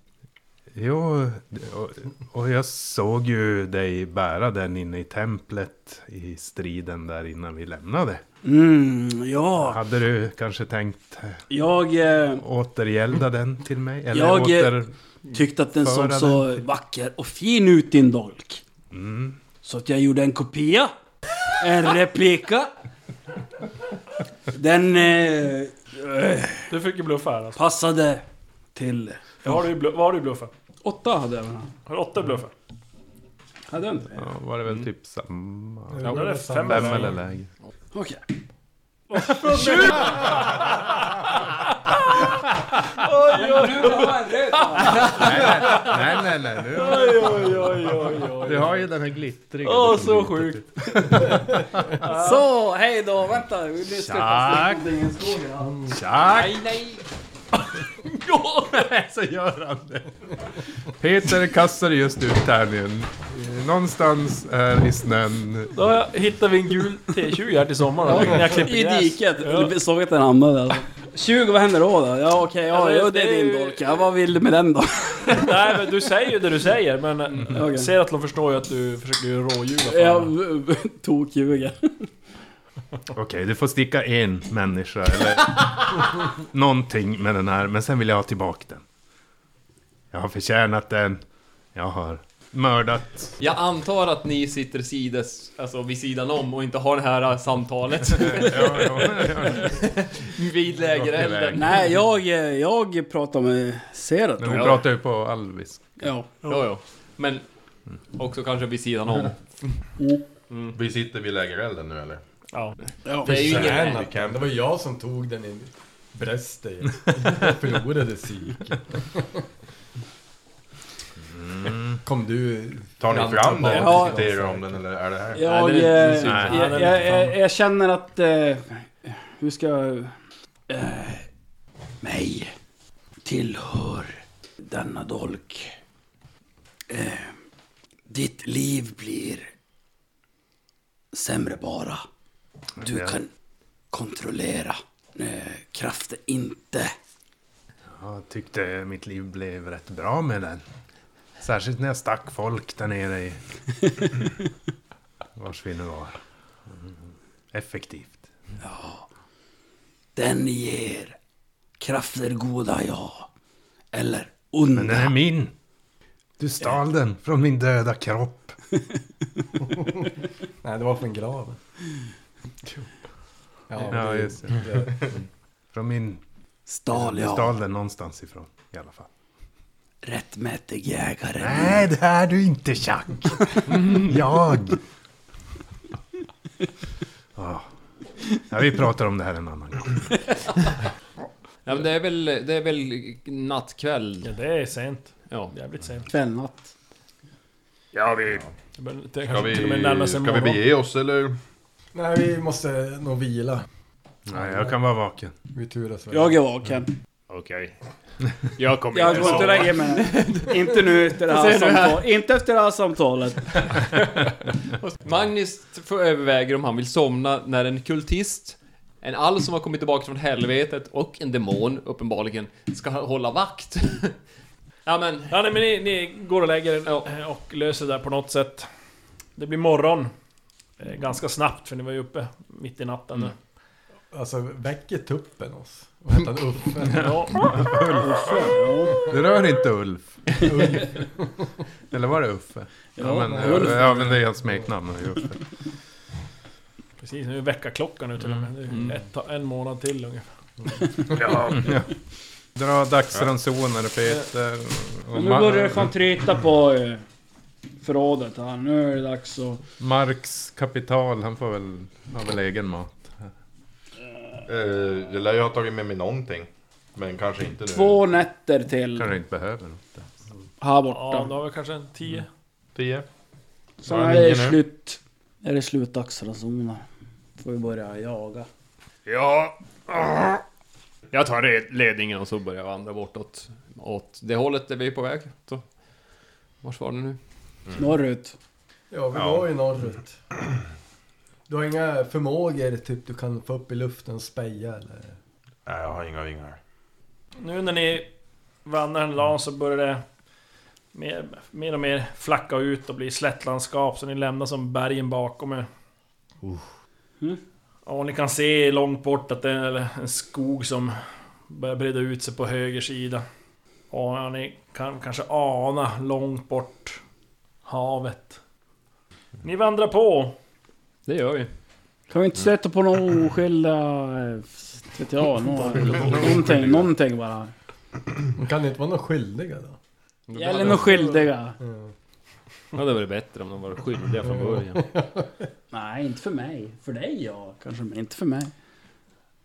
[SPEAKER 4] Jo, och, och jag såg ju dig bära den inne i templet i striden där innan vi lämnade.
[SPEAKER 6] Mm, ja.
[SPEAKER 4] Hade du kanske tänkt
[SPEAKER 6] Jag eh,
[SPEAKER 4] återgälda den till mig? Eller
[SPEAKER 6] Jag, eh,
[SPEAKER 4] åter...
[SPEAKER 6] tyckte att den såg
[SPEAKER 4] Föra
[SPEAKER 6] så vacker och fin ut din dolk.
[SPEAKER 4] Mm.
[SPEAKER 6] Så att jag gjorde en kopia. En replika. Den eh, eh,
[SPEAKER 7] Du fick ju bluffa här alltså.
[SPEAKER 6] passade till...
[SPEAKER 7] Vad har du, i blu- vad har du i bluffen?
[SPEAKER 6] Åtta hade jag väl?
[SPEAKER 7] Har du åtta bluffar?
[SPEAKER 6] Hade jag inte det?
[SPEAKER 4] Ja, var det väl typ samma?
[SPEAKER 7] Ja, det är fem
[SPEAKER 4] Fem eller lägre?
[SPEAKER 6] Okej.
[SPEAKER 4] Nej, nej, nej. Du,
[SPEAKER 7] Oj, oj, oj, oj, oj.
[SPEAKER 4] du har ju den här glittriga.
[SPEAKER 7] Åh, så sjukt.
[SPEAKER 6] Så, hej då. Vänta. Nu ska jag
[SPEAKER 4] Tack.
[SPEAKER 6] passa ingen skog här.
[SPEAKER 4] Tjack!
[SPEAKER 6] Nej, nej.
[SPEAKER 4] Så gör han det. Peter kastade just ut tärningen. Eh, Någonstans här i snön.
[SPEAKER 7] Då har jag- hittar vi en gul T20 här till sommaren. när jag klipper
[SPEAKER 6] I
[SPEAKER 7] gräs.
[SPEAKER 6] diket.
[SPEAKER 7] Ja.
[SPEAKER 6] Jag Såg att den hamnade där. 20, vad händer då? då? Ja okej, ja,
[SPEAKER 7] Ja,
[SPEAKER 6] ja, det
[SPEAKER 7] det är
[SPEAKER 6] är
[SPEAKER 7] ju-
[SPEAKER 6] din dolk. Ja, vad vill du med den då?
[SPEAKER 7] Nej men du säger ju det du säger men mm.
[SPEAKER 6] Okej.
[SPEAKER 7] ser att de förstår ju att du försöker ju råljuga för
[SPEAKER 6] Jag
[SPEAKER 7] honom.
[SPEAKER 6] tokljuger.
[SPEAKER 4] Okej, du får sticka en människa eller någonting med den här, men sen vill jag ha tillbaka den. Jag har förtjänat den. Jag har mördat.
[SPEAKER 8] Jag antar att ni sitter sides, alltså vid sidan om och inte har det här äh, samtalet
[SPEAKER 4] Ja, ja, ja.
[SPEAKER 8] vid lägerelden.
[SPEAKER 6] Nej, jag, eh, jag pratar med Serat
[SPEAKER 4] Men
[SPEAKER 6] då.
[SPEAKER 4] vi pratar ju på alvis.
[SPEAKER 6] Ja.
[SPEAKER 8] Jo, jo. Men också kanske vid sidan om.
[SPEAKER 2] Vi sitter vid lägerelden nu eller?
[SPEAKER 7] Ja.
[SPEAKER 6] ja.
[SPEAKER 8] Det är ju ingen...
[SPEAKER 3] Tjänat den. Det var jag som tog den i bröstet. Jag förlorade psyket. Kom du...
[SPEAKER 2] Tar ni fram den
[SPEAKER 6] Ja.
[SPEAKER 2] och diskuterar om den eller är det här?
[SPEAKER 6] Jag,
[SPEAKER 8] Nej, det är inte
[SPEAKER 6] eh,
[SPEAKER 8] synd.
[SPEAKER 4] Nej.
[SPEAKER 6] jag, jag, jag, jag känner att... Eh, hur ska jag... Eh, mig tillhör denna dolk. Eh, ditt liv blir sämre bara. Du
[SPEAKER 4] Ja.
[SPEAKER 6] kan kontrollera eh, kraften inte.
[SPEAKER 4] Jag tyckte mitt liv blev rätt bra med den. Särskilt när jag stack folk där nere i... Vars vi nu var. Mm. Effektivt.
[SPEAKER 6] Den ger krafter goda, ja. Eller onda.
[SPEAKER 4] Men den är min! Du stal den från min döda kropp.
[SPEAKER 3] Nej, det var från graven. Ja,
[SPEAKER 4] Ja,
[SPEAKER 3] det-
[SPEAKER 4] just det. Från min...
[SPEAKER 6] Stal,
[SPEAKER 4] Du
[SPEAKER 6] ja.
[SPEAKER 4] stal den någonstans ifrån i alla fall.
[SPEAKER 6] Rättmätig jägare.
[SPEAKER 4] Nej, det är du inte, Chuck! Mm, jag! Ja, Ja, vi pratar om det här en annan gång.
[SPEAKER 8] Ja, men det är väl, det är väl nattkväll.
[SPEAKER 7] Ja, det är sent.
[SPEAKER 8] Ja.
[SPEAKER 7] Jävligt sent.
[SPEAKER 6] Kvällnatt.
[SPEAKER 5] Ja, vi...
[SPEAKER 7] Det börjar- Det
[SPEAKER 2] Ska
[SPEAKER 7] kanske till och med närmar
[SPEAKER 2] vi,
[SPEAKER 7] sig
[SPEAKER 2] ska vi
[SPEAKER 7] morgon.
[SPEAKER 2] bege oss eller?
[SPEAKER 3] Nej, vi måste nog vila.
[SPEAKER 4] Nej, jag kan vara vaken.
[SPEAKER 3] Vi turas väl.
[SPEAKER 6] Jag är vaken.
[SPEAKER 5] Okej. Jag kommer
[SPEAKER 6] Jag går
[SPEAKER 5] sova.
[SPEAKER 6] inte och lägger mig. Inte nu efter det här
[SPEAKER 8] Ser du här?
[SPEAKER 6] samtalet. Inte efter det här samtalet.
[SPEAKER 8] Magnus får överväger om han vill somna när en kultist, en alv som har kommit tillbaka från helvetet och en demon, uppenbarligen, ska hålla vakt. ja men,
[SPEAKER 7] Ja, nej, men ni, ni går och lägger er
[SPEAKER 8] Ja.
[SPEAKER 7] eh, och löser det där på något sätt. Det blir morgon. Eh, Ganska snabbt, för ni var ju uppe mitt i natten.
[SPEAKER 2] Mm.
[SPEAKER 7] nu.
[SPEAKER 3] Alltså, väcker tuppen oss? Och heter han Uffe?
[SPEAKER 7] Ja,
[SPEAKER 4] Du rör inte Ulf. Eller var det Uffe? Ja, men,
[SPEAKER 6] Ulf.
[SPEAKER 4] ja, men det är hans smeknamn. det är Uffe.
[SPEAKER 7] precis. Nu är veckaklockan nu till och med. Det är ju Ett, en månad till ungefär.
[SPEAKER 5] Ja,
[SPEAKER 4] Dra dagsransoner, Peter. och
[SPEAKER 6] Men nu
[SPEAKER 4] Ma-
[SPEAKER 6] börjar det fan tryta på eh, förrådet här. Nu är det dags att...
[SPEAKER 4] Marx kapital, han får väl, har väl egen mat.
[SPEAKER 2] Eh, jag lär ju ha tagit med mig någonting. Men kanske inte nu.
[SPEAKER 6] Två nätter till
[SPEAKER 4] Kanske inte behöver något.
[SPEAKER 6] här
[SPEAKER 7] Ja, då
[SPEAKER 6] borta.
[SPEAKER 7] har vi kanske en tio.
[SPEAKER 2] Tio.
[SPEAKER 6] Så
[SPEAKER 2] Ja,
[SPEAKER 6] är det
[SPEAKER 2] nio nu.
[SPEAKER 6] slut. Är det slut dagsransoner. Får vi börja jaga.
[SPEAKER 5] ja.
[SPEAKER 8] jag tar red- ledningen och så börjar jag vandra bortåt. Åt det hållet där vi är på väg. Så. Vart var det nu?
[SPEAKER 6] Mm. Norrut.
[SPEAKER 3] Ja, vi var ju norrut. Du har inga förmågor typ du kan få upp i luften och speja eller?
[SPEAKER 2] Nej, jag har inga vingar.
[SPEAKER 7] Nu när ni vandrar den dagen så börjar det mer, mer och mer flacka ut och bli slättlandskap så ni lämnar som bergen bakom er.
[SPEAKER 6] Mm.
[SPEAKER 7] Och ni kan se långt bort att det är en skog som börjar breda ut sig på höger sida. Och ni kan kanske ana långt bort havet. Ni vandrar på.
[SPEAKER 8] Det gör vi.
[SPEAKER 6] Kan vi inte stöta på några oskyldiga... eh, Vet jag, nå- någonting, någonting bara.
[SPEAKER 3] De kan inte vara några skyldiga då?
[SPEAKER 6] Eller några skyldiga.
[SPEAKER 8] Ja, det hade varit bättre om de var skyldiga från början.
[SPEAKER 6] Nej, inte för mig. För dig ja, kanske, men inte för mig.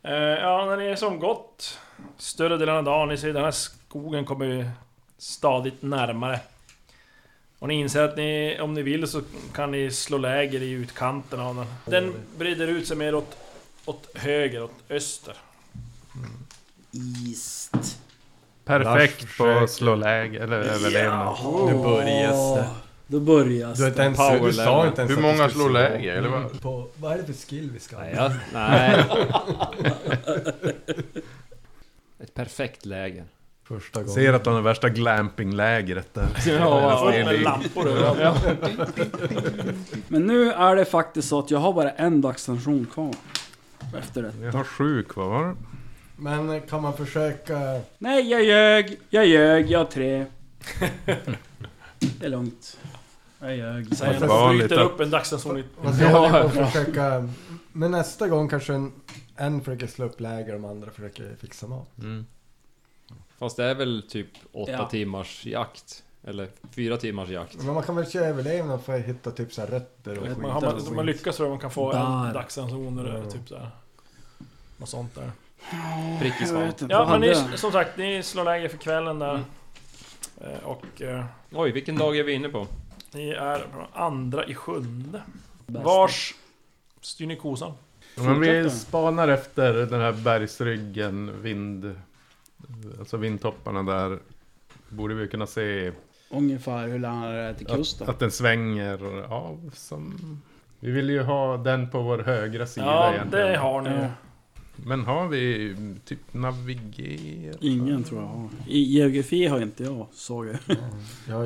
[SPEAKER 7] Eh, ja, när ni är som gott större delen av dagen, ni ser den här skogen kommer ju stadigt närmare. Och ni inser att ni, om ni vill så kan ni slå läger i utkanten av den. Den breder ut sig mer åt, åt höger, åt öster.
[SPEAKER 6] East.
[SPEAKER 4] Perfekt på slå läge eller överlevnad.
[SPEAKER 3] Nu börjas det.
[SPEAKER 6] Då börjar
[SPEAKER 3] Du, har inte
[SPEAKER 6] det.
[SPEAKER 3] ens, du sa inte ens
[SPEAKER 2] Hur
[SPEAKER 3] att
[SPEAKER 2] många
[SPEAKER 3] du skulle Mm.
[SPEAKER 2] slår
[SPEAKER 3] slå.
[SPEAKER 2] läger, eller vad?
[SPEAKER 3] På, vad är det för skill vi ska ha?
[SPEAKER 8] Nej, jag, nej. Ett perfekt läger.
[SPEAKER 3] Första gången.
[SPEAKER 4] Ser att han har värsta glampinglägret där.
[SPEAKER 8] Ja,
[SPEAKER 7] Fullt med lampor överallt.
[SPEAKER 6] Men nu är det faktiskt så att jag har bara en dagstation kvar. Efter det.
[SPEAKER 4] Jag har sju kvar.
[SPEAKER 3] Men kan man försöka...
[SPEAKER 6] Nej, jag ljög, jag ljög, jag har tre. Det är lugnt. Jag ljög.
[SPEAKER 7] Sen
[SPEAKER 4] Vad vanligt
[SPEAKER 7] flyter
[SPEAKER 4] att-
[SPEAKER 7] upp en dagsranson.
[SPEAKER 3] Man ska hålla på och försöka... Men nästa gång kanske en, en försöker slå upp läger och de andra försöker fixa mat.
[SPEAKER 8] Fast det är väl typ åtta
[SPEAKER 6] Ja.
[SPEAKER 8] timmars jakt. Eller fyra timmars jakt.
[SPEAKER 3] Men man kan väl köra överlevnad för att hitta typ så här rötter och skit.
[SPEAKER 6] Vet
[SPEAKER 3] Alltså,
[SPEAKER 7] Man, har man, om man lyckas tror jag man kan få
[SPEAKER 6] Där.
[SPEAKER 7] en dagsranson eller typ såhär. Något sånt där.
[SPEAKER 8] Prick i
[SPEAKER 6] Jag
[SPEAKER 8] svan.
[SPEAKER 6] vet inte, Typ vad Mm.
[SPEAKER 7] Ja, men
[SPEAKER 6] hade
[SPEAKER 7] ni,
[SPEAKER 6] jag?
[SPEAKER 7] som sagt, ni slår läger för kvällen där. Eh, Och... eh,
[SPEAKER 8] Oj, vilken dag är vi inne på?
[SPEAKER 7] Ni är på andra i sjunde. Vars styr ni kosan?
[SPEAKER 4] Men
[SPEAKER 6] Fortsätter.
[SPEAKER 4] vi spanar efter den här bergsryggen, vind... Alltså vindtopparna där. Borde vi kunna se
[SPEAKER 6] Ungefär hur långt är det till
[SPEAKER 4] att,
[SPEAKER 6] kusten?
[SPEAKER 4] att den svänger av som... Vi vill ju ha den på vår högra sida
[SPEAKER 7] Ja,
[SPEAKER 4] egentligen.
[SPEAKER 7] det har ni ju.
[SPEAKER 6] Ja.
[SPEAKER 4] Men har vi typ navigera?
[SPEAKER 6] Ingen tror jag har. I geografi har inte jag, såg jag.
[SPEAKER 3] Ja,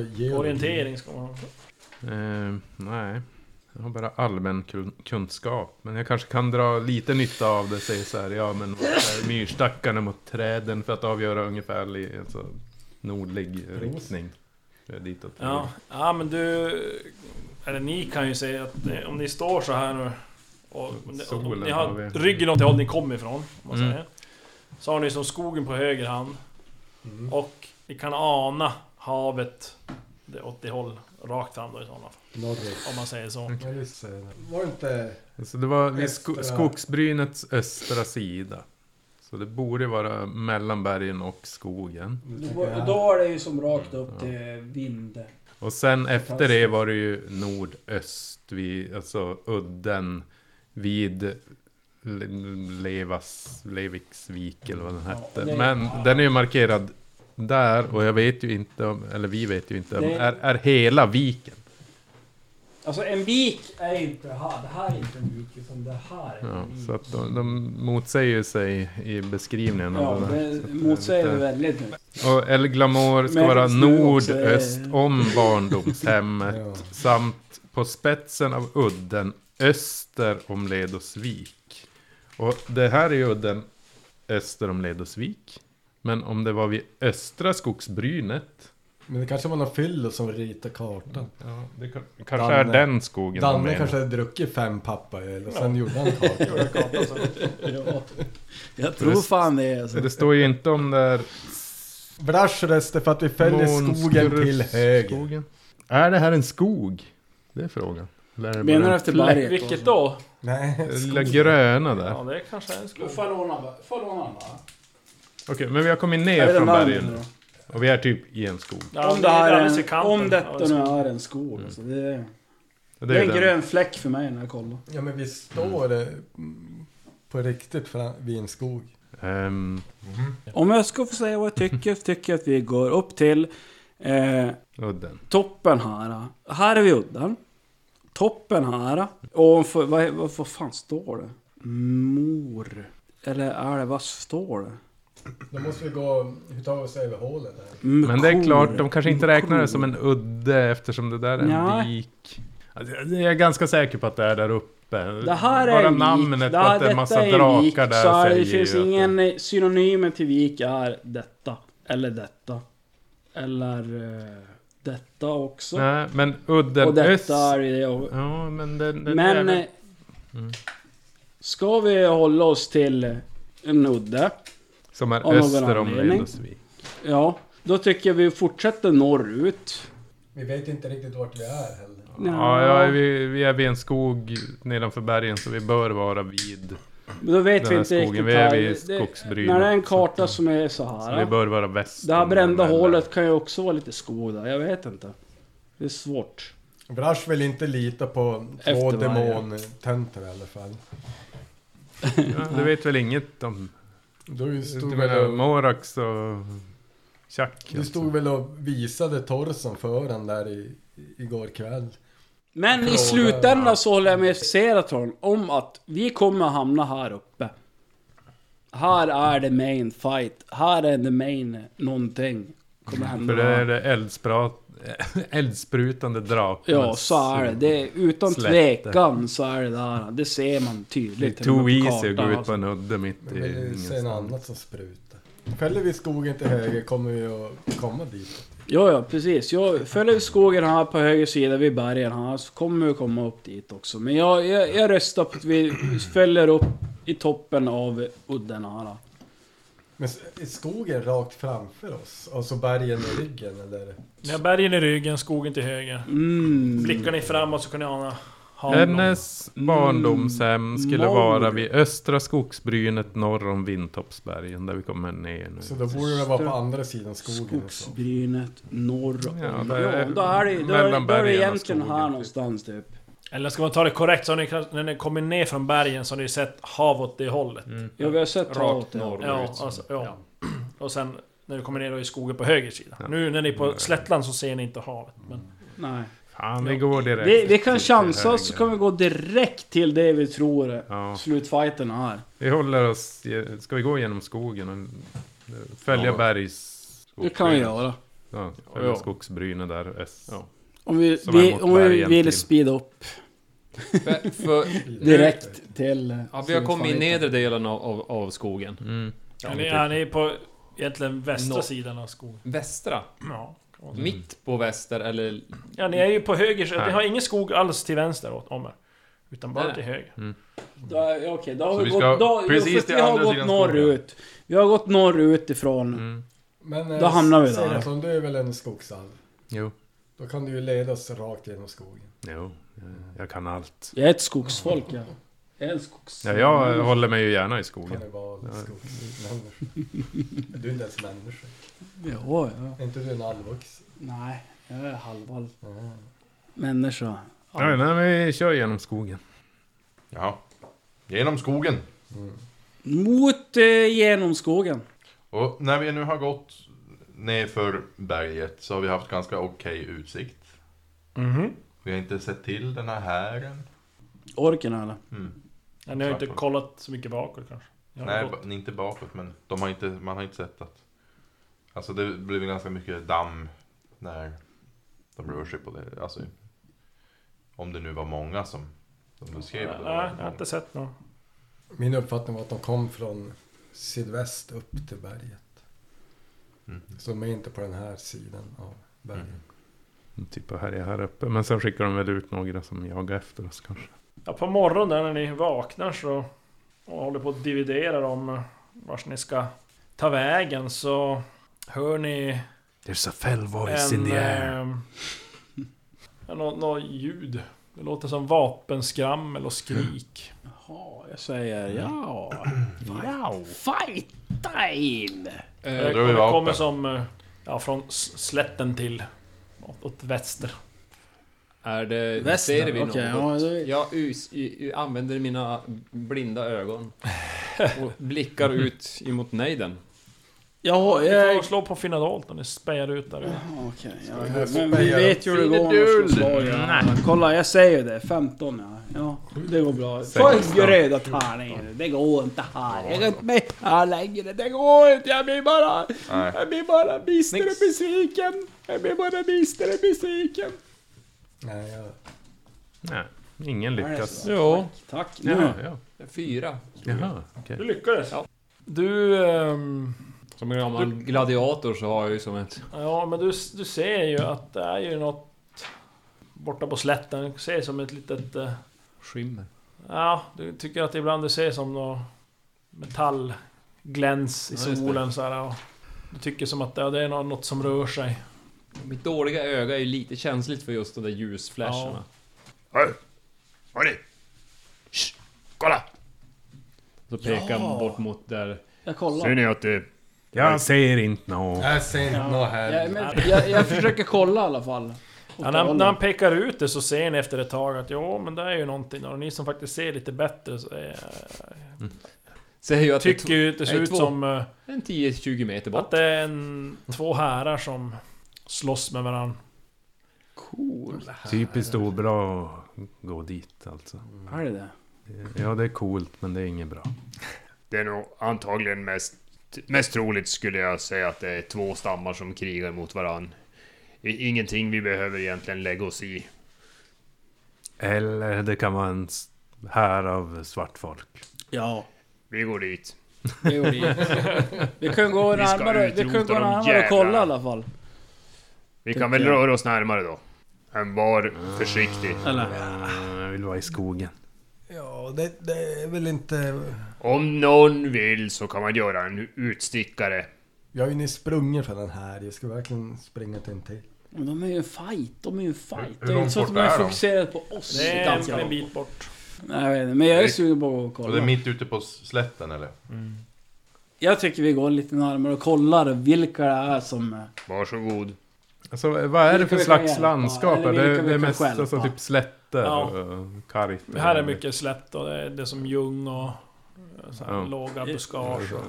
[SPEAKER 3] geologi.
[SPEAKER 7] Orientering ska man ha.
[SPEAKER 4] Mm. Eh, nej. Jag har bara allmän kun- kunskap. Men jag kanske kan dra lite nytta av det. Säg så här, ja men vad är myrstackarna mot träden för att avgöra ungefär i alltså, nordlig riktning. Jag är ditåt.
[SPEAKER 7] Ja, ja men du... Eller ni kan ju säga att eh, om ni står så här nu och, och, och
[SPEAKER 4] Solen
[SPEAKER 7] ni
[SPEAKER 4] har
[SPEAKER 7] har
[SPEAKER 4] vi.
[SPEAKER 7] ryggen åt det håll ni kommer ifrån, om man
[SPEAKER 4] Mm.
[SPEAKER 7] säger. Så har ni
[SPEAKER 3] Mm.
[SPEAKER 7] som skogen på höger hand. Och ni kan ana havet det, åt det håll, rakt fram då i sådana fall.
[SPEAKER 3] Norrut.
[SPEAKER 7] Om man säger så.
[SPEAKER 3] Ja, just det. Var det inte...
[SPEAKER 4] Alltså det var vid sko
[SPEAKER 3] Östra-
[SPEAKER 4] skogsbrynets östra sida. Så det borde vara mellan bergen och skogen.
[SPEAKER 6] Då, då är det ju som rakt upp till vind.
[SPEAKER 4] Och sen efter det var det ju nordöst, vid, alltså udden vid Le- Levas, Leviksvik eller vad den hette.
[SPEAKER 6] det-
[SPEAKER 4] Men den är ju markerad där och jag vet ju inte om, eller vi vet ju inte om,
[SPEAKER 6] Det-
[SPEAKER 4] är, är hela viken.
[SPEAKER 6] Alltså en vik är inte här. Det här är inte en vik, utan det här är en
[SPEAKER 4] Ja,
[SPEAKER 6] vik.
[SPEAKER 4] så att de, de motsäger sig i beskrivningen
[SPEAKER 6] Ja,
[SPEAKER 4] av den här.
[SPEAKER 6] det
[SPEAKER 4] Så att är
[SPEAKER 6] motsäger
[SPEAKER 4] lite-
[SPEAKER 6] vi väldigt nu.
[SPEAKER 4] Och El Glamour ska
[SPEAKER 6] Men
[SPEAKER 4] vara
[SPEAKER 6] just nu också är-
[SPEAKER 4] nordöst om barndomshemmet
[SPEAKER 3] Ja.
[SPEAKER 4] samt på spetsen av udden öster om Ledosvik. Och det här är ju udden öster om Ledosvik. Men om det var vid östra skogsbrynet.
[SPEAKER 3] Men det kanske var någon fyllo som ritade kartan.
[SPEAKER 4] Ja, det kan- kanske är
[SPEAKER 3] Danne.
[SPEAKER 4] den skogen de
[SPEAKER 3] Danne
[SPEAKER 4] menar.
[SPEAKER 3] kanske hade druckit fem pappaöl och sen gjorde han kartan.
[SPEAKER 6] Ja. Jag tror fan det är
[SPEAKER 4] Så
[SPEAKER 6] alltså.
[SPEAKER 4] det står ju inte om det är
[SPEAKER 3] Brasch röster för att vi följer skogen till höger.
[SPEAKER 4] Skogen. Är det här en skog? Det är frågan. Eller är det bara
[SPEAKER 6] Menar du
[SPEAKER 4] en
[SPEAKER 6] efter
[SPEAKER 4] plätt?
[SPEAKER 6] berget?
[SPEAKER 7] Vilket då?
[SPEAKER 3] Nej,
[SPEAKER 4] Det Lilla gröna där.
[SPEAKER 7] Ja, det kanske är en skog.
[SPEAKER 6] Falona, Falona va?
[SPEAKER 4] Okej, men vi har kommit
[SPEAKER 6] Är
[SPEAKER 4] ner
[SPEAKER 6] det
[SPEAKER 4] från
[SPEAKER 6] den här
[SPEAKER 4] bergen.
[SPEAKER 6] nu då?
[SPEAKER 4] Och vi är typ i en skog.
[SPEAKER 7] Ja,
[SPEAKER 6] om, det här
[SPEAKER 7] är alldeles i
[SPEAKER 6] är en,
[SPEAKER 7] kanten
[SPEAKER 6] om
[SPEAKER 7] av
[SPEAKER 6] detta
[SPEAKER 7] en
[SPEAKER 6] nu
[SPEAKER 7] skog.
[SPEAKER 6] är en skog alltså. Det är,
[SPEAKER 4] Det
[SPEAKER 6] det är
[SPEAKER 4] är
[SPEAKER 6] en
[SPEAKER 4] den.
[SPEAKER 6] grön fläck för mig när jag kollar.
[SPEAKER 3] ja men vi står eh, mm, på riktigt fram- vid en skog.
[SPEAKER 4] Ehm,
[SPEAKER 6] Om jag ska få säga vad jag tycker, så tycker jag att vi går upp till eh,
[SPEAKER 4] udden.
[SPEAKER 6] toppen här. Här är vi udden. Toppen här. Och för, vad, vad, vad fan står det? Mor. Eller är det, vad står det?
[SPEAKER 3] Då måste vi gå, hur tar vi oss över hålet där?
[SPEAKER 4] Men det är klart, de kanske inte räknar det som en udde eftersom det där är en
[SPEAKER 6] Nej.
[SPEAKER 4] vik. Alltså, jag är ganska säker på att det är där uppe.
[SPEAKER 6] Det här är
[SPEAKER 4] Bara
[SPEAKER 6] en vik.
[SPEAKER 4] namnet på
[SPEAKER 6] det här,
[SPEAKER 4] att det är en
[SPEAKER 6] detta
[SPEAKER 4] massa
[SPEAKER 6] en
[SPEAKER 4] drakar
[SPEAKER 6] vik,
[SPEAKER 4] där
[SPEAKER 6] så här,
[SPEAKER 4] säger
[SPEAKER 6] Det finns
[SPEAKER 4] ju att
[SPEAKER 6] ingen det... synonymen till vik är detta. Eller detta. Eller eh, detta också.
[SPEAKER 4] Nej, men udden
[SPEAKER 6] och detta
[SPEAKER 4] öst...
[SPEAKER 6] är det. Och,
[SPEAKER 4] Ja, men den... den
[SPEAKER 6] men...
[SPEAKER 4] är-
[SPEAKER 6] eh, Ska vi hålla oss till en udde?
[SPEAKER 4] som är
[SPEAKER 6] någon
[SPEAKER 4] öster om
[SPEAKER 6] anledning.
[SPEAKER 4] Leidosvik.
[SPEAKER 6] Ja. Då tycker jag vi fortsätter norrut.
[SPEAKER 3] Vi vet ju inte riktigt vart vi är heller.
[SPEAKER 4] Ja, ja vi, vi är vid en skog nedanför bergen så vi bör vara vid.
[SPEAKER 6] Men Då vet
[SPEAKER 4] Den
[SPEAKER 6] vi
[SPEAKER 4] här
[SPEAKER 6] inte
[SPEAKER 4] skogen,
[SPEAKER 6] riktigt.
[SPEAKER 4] vi är
[SPEAKER 6] här.
[SPEAKER 4] vid
[SPEAKER 6] Det- det-
[SPEAKER 4] skogsbrynet,
[SPEAKER 6] När det är en
[SPEAKER 4] så
[SPEAKER 6] karta som är så här.
[SPEAKER 4] Så vi bör vara väst.
[SPEAKER 6] Det här
[SPEAKER 4] om den,
[SPEAKER 6] brända
[SPEAKER 4] eller-
[SPEAKER 6] hålet kan ju också vara lite skog där. Jag vet inte. Det är svårt.
[SPEAKER 3] Brasch vill inte lita på två
[SPEAKER 6] Efter varje.
[SPEAKER 3] demontenter i alla fall.
[SPEAKER 4] Ja, du vet väl inget om...
[SPEAKER 3] Då vi stod
[SPEAKER 4] Du
[SPEAKER 3] vi
[SPEAKER 4] menar
[SPEAKER 3] och,
[SPEAKER 4] Morax och Chuck? alltså.
[SPEAKER 3] du stod väl och visade Torson för han där i, igår kväll.
[SPEAKER 6] Men i
[SPEAKER 3] Fråga,
[SPEAKER 6] slutändan så håller jag med Seratron om att vi kommer hamna här uppe. Här är the main fight. Här är the main någonting. Kommer hända.
[SPEAKER 4] För det är det eldsprat, eldsprutande draken.
[SPEAKER 6] Ja, så är det. det är, utan
[SPEAKER 4] Slätte.
[SPEAKER 6] tvekan så är det där. Det ser man
[SPEAKER 4] Det är
[SPEAKER 6] tydligt.
[SPEAKER 4] too
[SPEAKER 6] på
[SPEAKER 4] easy att gå
[SPEAKER 6] kartan,
[SPEAKER 4] ut på
[SPEAKER 6] alltså.
[SPEAKER 4] en udde mitt
[SPEAKER 3] Men
[SPEAKER 4] i
[SPEAKER 3] vi ser något
[SPEAKER 4] ingenstans.
[SPEAKER 3] annat som sprutar. Fäller vi skogen till höger kommer vi att komma dit.
[SPEAKER 6] Ja, ja, precis. Jag följer skogen här på höger sida vid bergen här så kommer vi komma upp dit också. Men jag, jag, jag röstar på att vi följer upp i toppen av udden här. då.
[SPEAKER 3] Men s- är skogen rakt framför oss? Och så bergen i ryggen eller?
[SPEAKER 7] Ni har bergen i ryggen, skogen till höger.
[SPEAKER 6] Mm.
[SPEAKER 7] Blickar ni framåt så kan ni ana hanen.
[SPEAKER 4] Hennes barndomshem skulle
[SPEAKER 6] Mor.
[SPEAKER 4] vara vid östra skogsbrynet norr om Vintoppsbergen där vi kommer ner nu.
[SPEAKER 3] Så då borde det vara på andra sidan skogen. och så.
[SPEAKER 6] Skogsbrynet norr om...
[SPEAKER 4] Ja,
[SPEAKER 6] Ja,
[SPEAKER 4] där är-
[SPEAKER 6] då är det, då är,
[SPEAKER 4] mellan
[SPEAKER 6] då är det
[SPEAKER 4] bergen och
[SPEAKER 6] egentligen
[SPEAKER 4] skogen,
[SPEAKER 6] här
[SPEAKER 4] typ.
[SPEAKER 6] någonstans typ.
[SPEAKER 7] Eller ska man ta det korrekt så har ni, kanske- när ni kommer ner från bergen så har ni ju sett hav åt det hållet.
[SPEAKER 4] Mm.
[SPEAKER 6] Ja, vi har sett
[SPEAKER 8] Rakt
[SPEAKER 6] havet. ja.
[SPEAKER 8] norrut.
[SPEAKER 7] Ja, alltså, ja. Och sen när du kommer ner då i skogen på höger sida. Nu när ni är på slättland så ser ni inte havet. Men
[SPEAKER 6] Nej.
[SPEAKER 4] Fan, vi går direkt.
[SPEAKER 6] Vi, vi kan
[SPEAKER 4] typ till
[SPEAKER 6] chansa så
[SPEAKER 4] höger.
[SPEAKER 6] kan vi gå direkt till det vi tror är
[SPEAKER 4] Ja.
[SPEAKER 6] slutfighten här.
[SPEAKER 4] Vi håller oss... ge- Ska vi gå genom skogen och följa
[SPEAKER 8] Ja.
[SPEAKER 4] bergs...
[SPEAKER 6] Det kan vi göra.
[SPEAKER 4] Ja,
[SPEAKER 8] Ja,
[SPEAKER 4] följa
[SPEAKER 8] ja.
[SPEAKER 4] skogsbrynet där öst.
[SPEAKER 8] Ja.
[SPEAKER 6] Om vi,
[SPEAKER 4] Som är
[SPEAKER 6] vi,
[SPEAKER 4] mot
[SPEAKER 6] om vi
[SPEAKER 4] bergen
[SPEAKER 6] vill
[SPEAKER 4] till. Mm.
[SPEAKER 6] speeda upp
[SPEAKER 8] För, för,
[SPEAKER 6] direkt till... eh,
[SPEAKER 8] ja, vi har kommit i
[SPEAKER 6] slutfighten.
[SPEAKER 8] nedre delen av, av, av skogen.
[SPEAKER 4] Mm.
[SPEAKER 7] ja, ni, ja, ni är på egentligen västra
[SPEAKER 8] Nå-
[SPEAKER 7] sidan av skogen.
[SPEAKER 8] Västra.
[SPEAKER 7] Ja. kan man säga.
[SPEAKER 8] Mitt på väster eller...
[SPEAKER 7] ja, ni är ju på höger sida.
[SPEAKER 4] Här.
[SPEAKER 7] Ni har ingen skog alls till vänster åt om er. Utan bara
[SPEAKER 8] Nej.
[SPEAKER 7] till höger.
[SPEAKER 6] Då, är- Okej, då har
[SPEAKER 4] Så
[SPEAKER 6] vi,
[SPEAKER 4] vi
[SPEAKER 6] gått...
[SPEAKER 4] ska
[SPEAKER 6] Då, jo,
[SPEAKER 4] precis
[SPEAKER 6] fast
[SPEAKER 4] till
[SPEAKER 6] vi har
[SPEAKER 4] andra
[SPEAKER 6] gått
[SPEAKER 4] sidan skogen.
[SPEAKER 6] norrut. Vi har gått norrut ifrån.
[SPEAKER 4] Mm.
[SPEAKER 3] Men eh,
[SPEAKER 6] Då hamnar vi där.
[SPEAKER 3] Serafon, du är väl en skogsalv?
[SPEAKER 4] Jo.
[SPEAKER 3] Då kan du ju leda oss rakt genom skogen.
[SPEAKER 4] Jo, jag, jag kan allt.
[SPEAKER 6] Jag är ett skogsfolk jag. Jag är en skogs...
[SPEAKER 4] Ja, jag håller mig ju gärna i skogen.
[SPEAKER 3] Kannibal,
[SPEAKER 4] Ja.
[SPEAKER 3] skogsmänniska. Du är inte ens människa.
[SPEAKER 6] Ja, ja.
[SPEAKER 3] Är inte du en allvuxen?
[SPEAKER 6] Nej, jag är halvvalv.
[SPEAKER 3] Ja.
[SPEAKER 6] Människa.
[SPEAKER 4] Ja, nej, men vi kör genom skogen.
[SPEAKER 2] Ja. Genom skogen.
[SPEAKER 6] Mot eh, genom skogen.
[SPEAKER 2] Och när vi nu har gått ner för berget så har vi haft ganska okej utsikt.
[SPEAKER 7] Mhm.
[SPEAKER 2] Vi har inte sett till den här hären.
[SPEAKER 6] Orken eller?
[SPEAKER 2] Mm.
[SPEAKER 7] Ja, ni har ju inte
[SPEAKER 2] Tvärtom.
[SPEAKER 7] kollat så mycket bakåt kanske? Jag har
[SPEAKER 2] Nej,
[SPEAKER 7] gått.
[SPEAKER 2] ba- inte bakåt men de har inte, man har inte sett att... Alltså det blev ju ganska mycket damm när de rör sig på det. Alltså, om det nu var många som de beskrev. det,
[SPEAKER 7] Nej,
[SPEAKER 2] då var det
[SPEAKER 7] nej, jag har
[SPEAKER 2] många.
[SPEAKER 7] inte sett någon.
[SPEAKER 3] Min uppfattning var att de kom från sydväst upp till berget.
[SPEAKER 2] Mm.
[SPEAKER 3] Så de är inte på den här sidan av berget.
[SPEAKER 2] Mm.
[SPEAKER 4] Typ här är här uppe. Men sen skickar de väl ut några som jagar efter oss kanske.
[SPEAKER 7] Ja, på morgonen där när ni vaknar så och håller på att dividera om vars ni ska ta vägen så hör ni
[SPEAKER 4] There's a fell voice in
[SPEAKER 7] en...
[SPEAKER 4] the air.
[SPEAKER 7] ehm, ja, nå, nå ljud. Det låter som vapenskrammel och skrik.
[SPEAKER 6] Jaha, jag säger ja. Wow. Fight time!
[SPEAKER 7] Det
[SPEAKER 2] drar vi
[SPEAKER 7] kommer, kommer
[SPEAKER 2] vapen.
[SPEAKER 7] som... eh, Ja, från s- slätten till... Åt, åt väster.
[SPEAKER 8] Är det...
[SPEAKER 6] Väster,
[SPEAKER 8] ser vi något?
[SPEAKER 6] okej, ja, det-
[SPEAKER 8] Jag us, i- i- använder mina blinda ögon. Och blickar ut emot nejden.
[SPEAKER 6] Jaha,
[SPEAKER 7] Ni får
[SPEAKER 6] jag...
[SPEAKER 7] slå på finna dolt när ni spejar ut där.
[SPEAKER 6] Jaha, Okej, ja,
[SPEAKER 3] vi
[SPEAKER 6] men-
[SPEAKER 3] speja
[SPEAKER 6] men vi vet ju hur det går om man slår slag. Ja. Kolla, jag säger ju det. 15 ja. Ja, det går bra. Följ röda tärningen. Det går inte här. Jag kan inte med här längre. Det går inte. Jag blir bara...
[SPEAKER 2] Nej.
[SPEAKER 6] Jag blir bara bister och besviken. Jag blir bara bister och besviken.
[SPEAKER 3] Nej, jag...
[SPEAKER 4] Nej, ingen lyckas.
[SPEAKER 8] Jo.
[SPEAKER 6] Tack. Nu.
[SPEAKER 4] Jaha, ja.
[SPEAKER 8] Fyra.
[SPEAKER 4] Jaha, okej.
[SPEAKER 7] Du lyckades. Du... ehm,
[SPEAKER 8] Som en gammal gladiator så har jag ju som ett...
[SPEAKER 7] Ja, men du, du ser ju att det är ju något borta på slätten. Du ser som ett litet... eh,
[SPEAKER 8] Skimmer.
[SPEAKER 7] Ja, du tycker att ibland du ser som något metallgläns i
[SPEAKER 8] Ja, just det.
[SPEAKER 7] solen så här, och Du tycker som att ja, det är nå- något som rör sig.
[SPEAKER 8] Mitt dåliga öga är ju lite känsligt för just de där ljusflasharna.
[SPEAKER 5] Hör, hörni! Shh, kolla!
[SPEAKER 8] Så pekar
[SPEAKER 6] Ja.
[SPEAKER 8] bort mot där...
[SPEAKER 6] Jag kollar.
[SPEAKER 5] Ser ni att det...
[SPEAKER 4] Jag ser inte
[SPEAKER 7] Äh.
[SPEAKER 4] nå.
[SPEAKER 3] Jag ser inte något
[SPEAKER 6] Jag,
[SPEAKER 3] här.
[SPEAKER 6] men, jag, jag försöker kolla i alla fall.
[SPEAKER 7] Ja, när, han- när han pekar ut det så ser ni efter ett tag att jo, men det är ju någonting. Och ni som faktiskt ser lite bättre så är,
[SPEAKER 8] Ser ju att det, är
[SPEAKER 7] tycker ju att det ser
[SPEAKER 8] nej,
[SPEAKER 7] ut
[SPEAKER 8] två.
[SPEAKER 7] som eh,
[SPEAKER 8] tw- en 10-20 meter bort.
[SPEAKER 7] att det är en, två härar som slåss med varandra.
[SPEAKER 6] Cool.
[SPEAKER 4] Typiskt obra att gå dit alltså.
[SPEAKER 6] Är det det?
[SPEAKER 4] Ja, det är coolt men det är inget bra.
[SPEAKER 5] Det är nog antagligen mest... Mest troligt skulle jag säga att det är två stammar som krigar mot varann. I- Ingenting vi behöver egentligen lägga oss i.
[SPEAKER 4] Eller det kan vara en s- här av svart folk.
[SPEAKER 6] Ja.
[SPEAKER 5] Vi går dit.
[SPEAKER 6] Det gjorde vi. Vi kan gå
[SPEAKER 5] Vi ska
[SPEAKER 6] närmare, vi
[SPEAKER 5] utrota
[SPEAKER 6] kan gå
[SPEAKER 5] de
[SPEAKER 6] närmare och kolla i
[SPEAKER 5] jävlarna.
[SPEAKER 6] alla fall.
[SPEAKER 5] Vi kan väl
[SPEAKER 6] Tycker jag.
[SPEAKER 5] röra oss närmare då. Men var försiktig.
[SPEAKER 6] Eller?
[SPEAKER 4] Eh, Jag vill vara i skogen.
[SPEAKER 3] Ja, det, det är väl inte...
[SPEAKER 5] Om någon vill så kan man göra en utstickare.
[SPEAKER 3] Jag har ju nyss sprungit för den här. Jag ska verkligen springa till en till.
[SPEAKER 6] Men De är ju en fight, de är ju en fight.
[SPEAKER 2] Hur
[SPEAKER 6] det är
[SPEAKER 2] långt
[SPEAKER 6] inte så att
[SPEAKER 2] bort
[SPEAKER 6] de är
[SPEAKER 2] är de?
[SPEAKER 6] fokuserade på oss.
[SPEAKER 7] Det är
[SPEAKER 6] ganska
[SPEAKER 7] en, en
[SPEAKER 6] långt.
[SPEAKER 7] bit bort.
[SPEAKER 6] Nej, jag vet inte, men jag är sugen på att
[SPEAKER 2] Och det är
[SPEAKER 6] kolla.
[SPEAKER 2] mitt ute på slätten eller?
[SPEAKER 6] Jag tycker vi går lite närmare och kollar vilka det är som... eh,
[SPEAKER 5] Varsågod.
[SPEAKER 4] Alltså, vad är det
[SPEAKER 6] Vilka
[SPEAKER 4] för
[SPEAKER 6] vi
[SPEAKER 4] slags
[SPEAKER 6] kan
[SPEAKER 4] landskap?
[SPEAKER 6] hjälpa,
[SPEAKER 4] Är
[SPEAKER 6] eller
[SPEAKER 4] det,
[SPEAKER 6] vilka vi
[SPEAKER 4] det är
[SPEAKER 6] kan
[SPEAKER 4] mest
[SPEAKER 6] stjälpa?
[SPEAKER 4] alltså, typ slätter
[SPEAKER 7] Ja.
[SPEAKER 4] och kargt?
[SPEAKER 7] Det här är mycket slätt och det är, det är som ljung och eh, så här,
[SPEAKER 4] Ja.
[SPEAKER 7] låga buskage. och-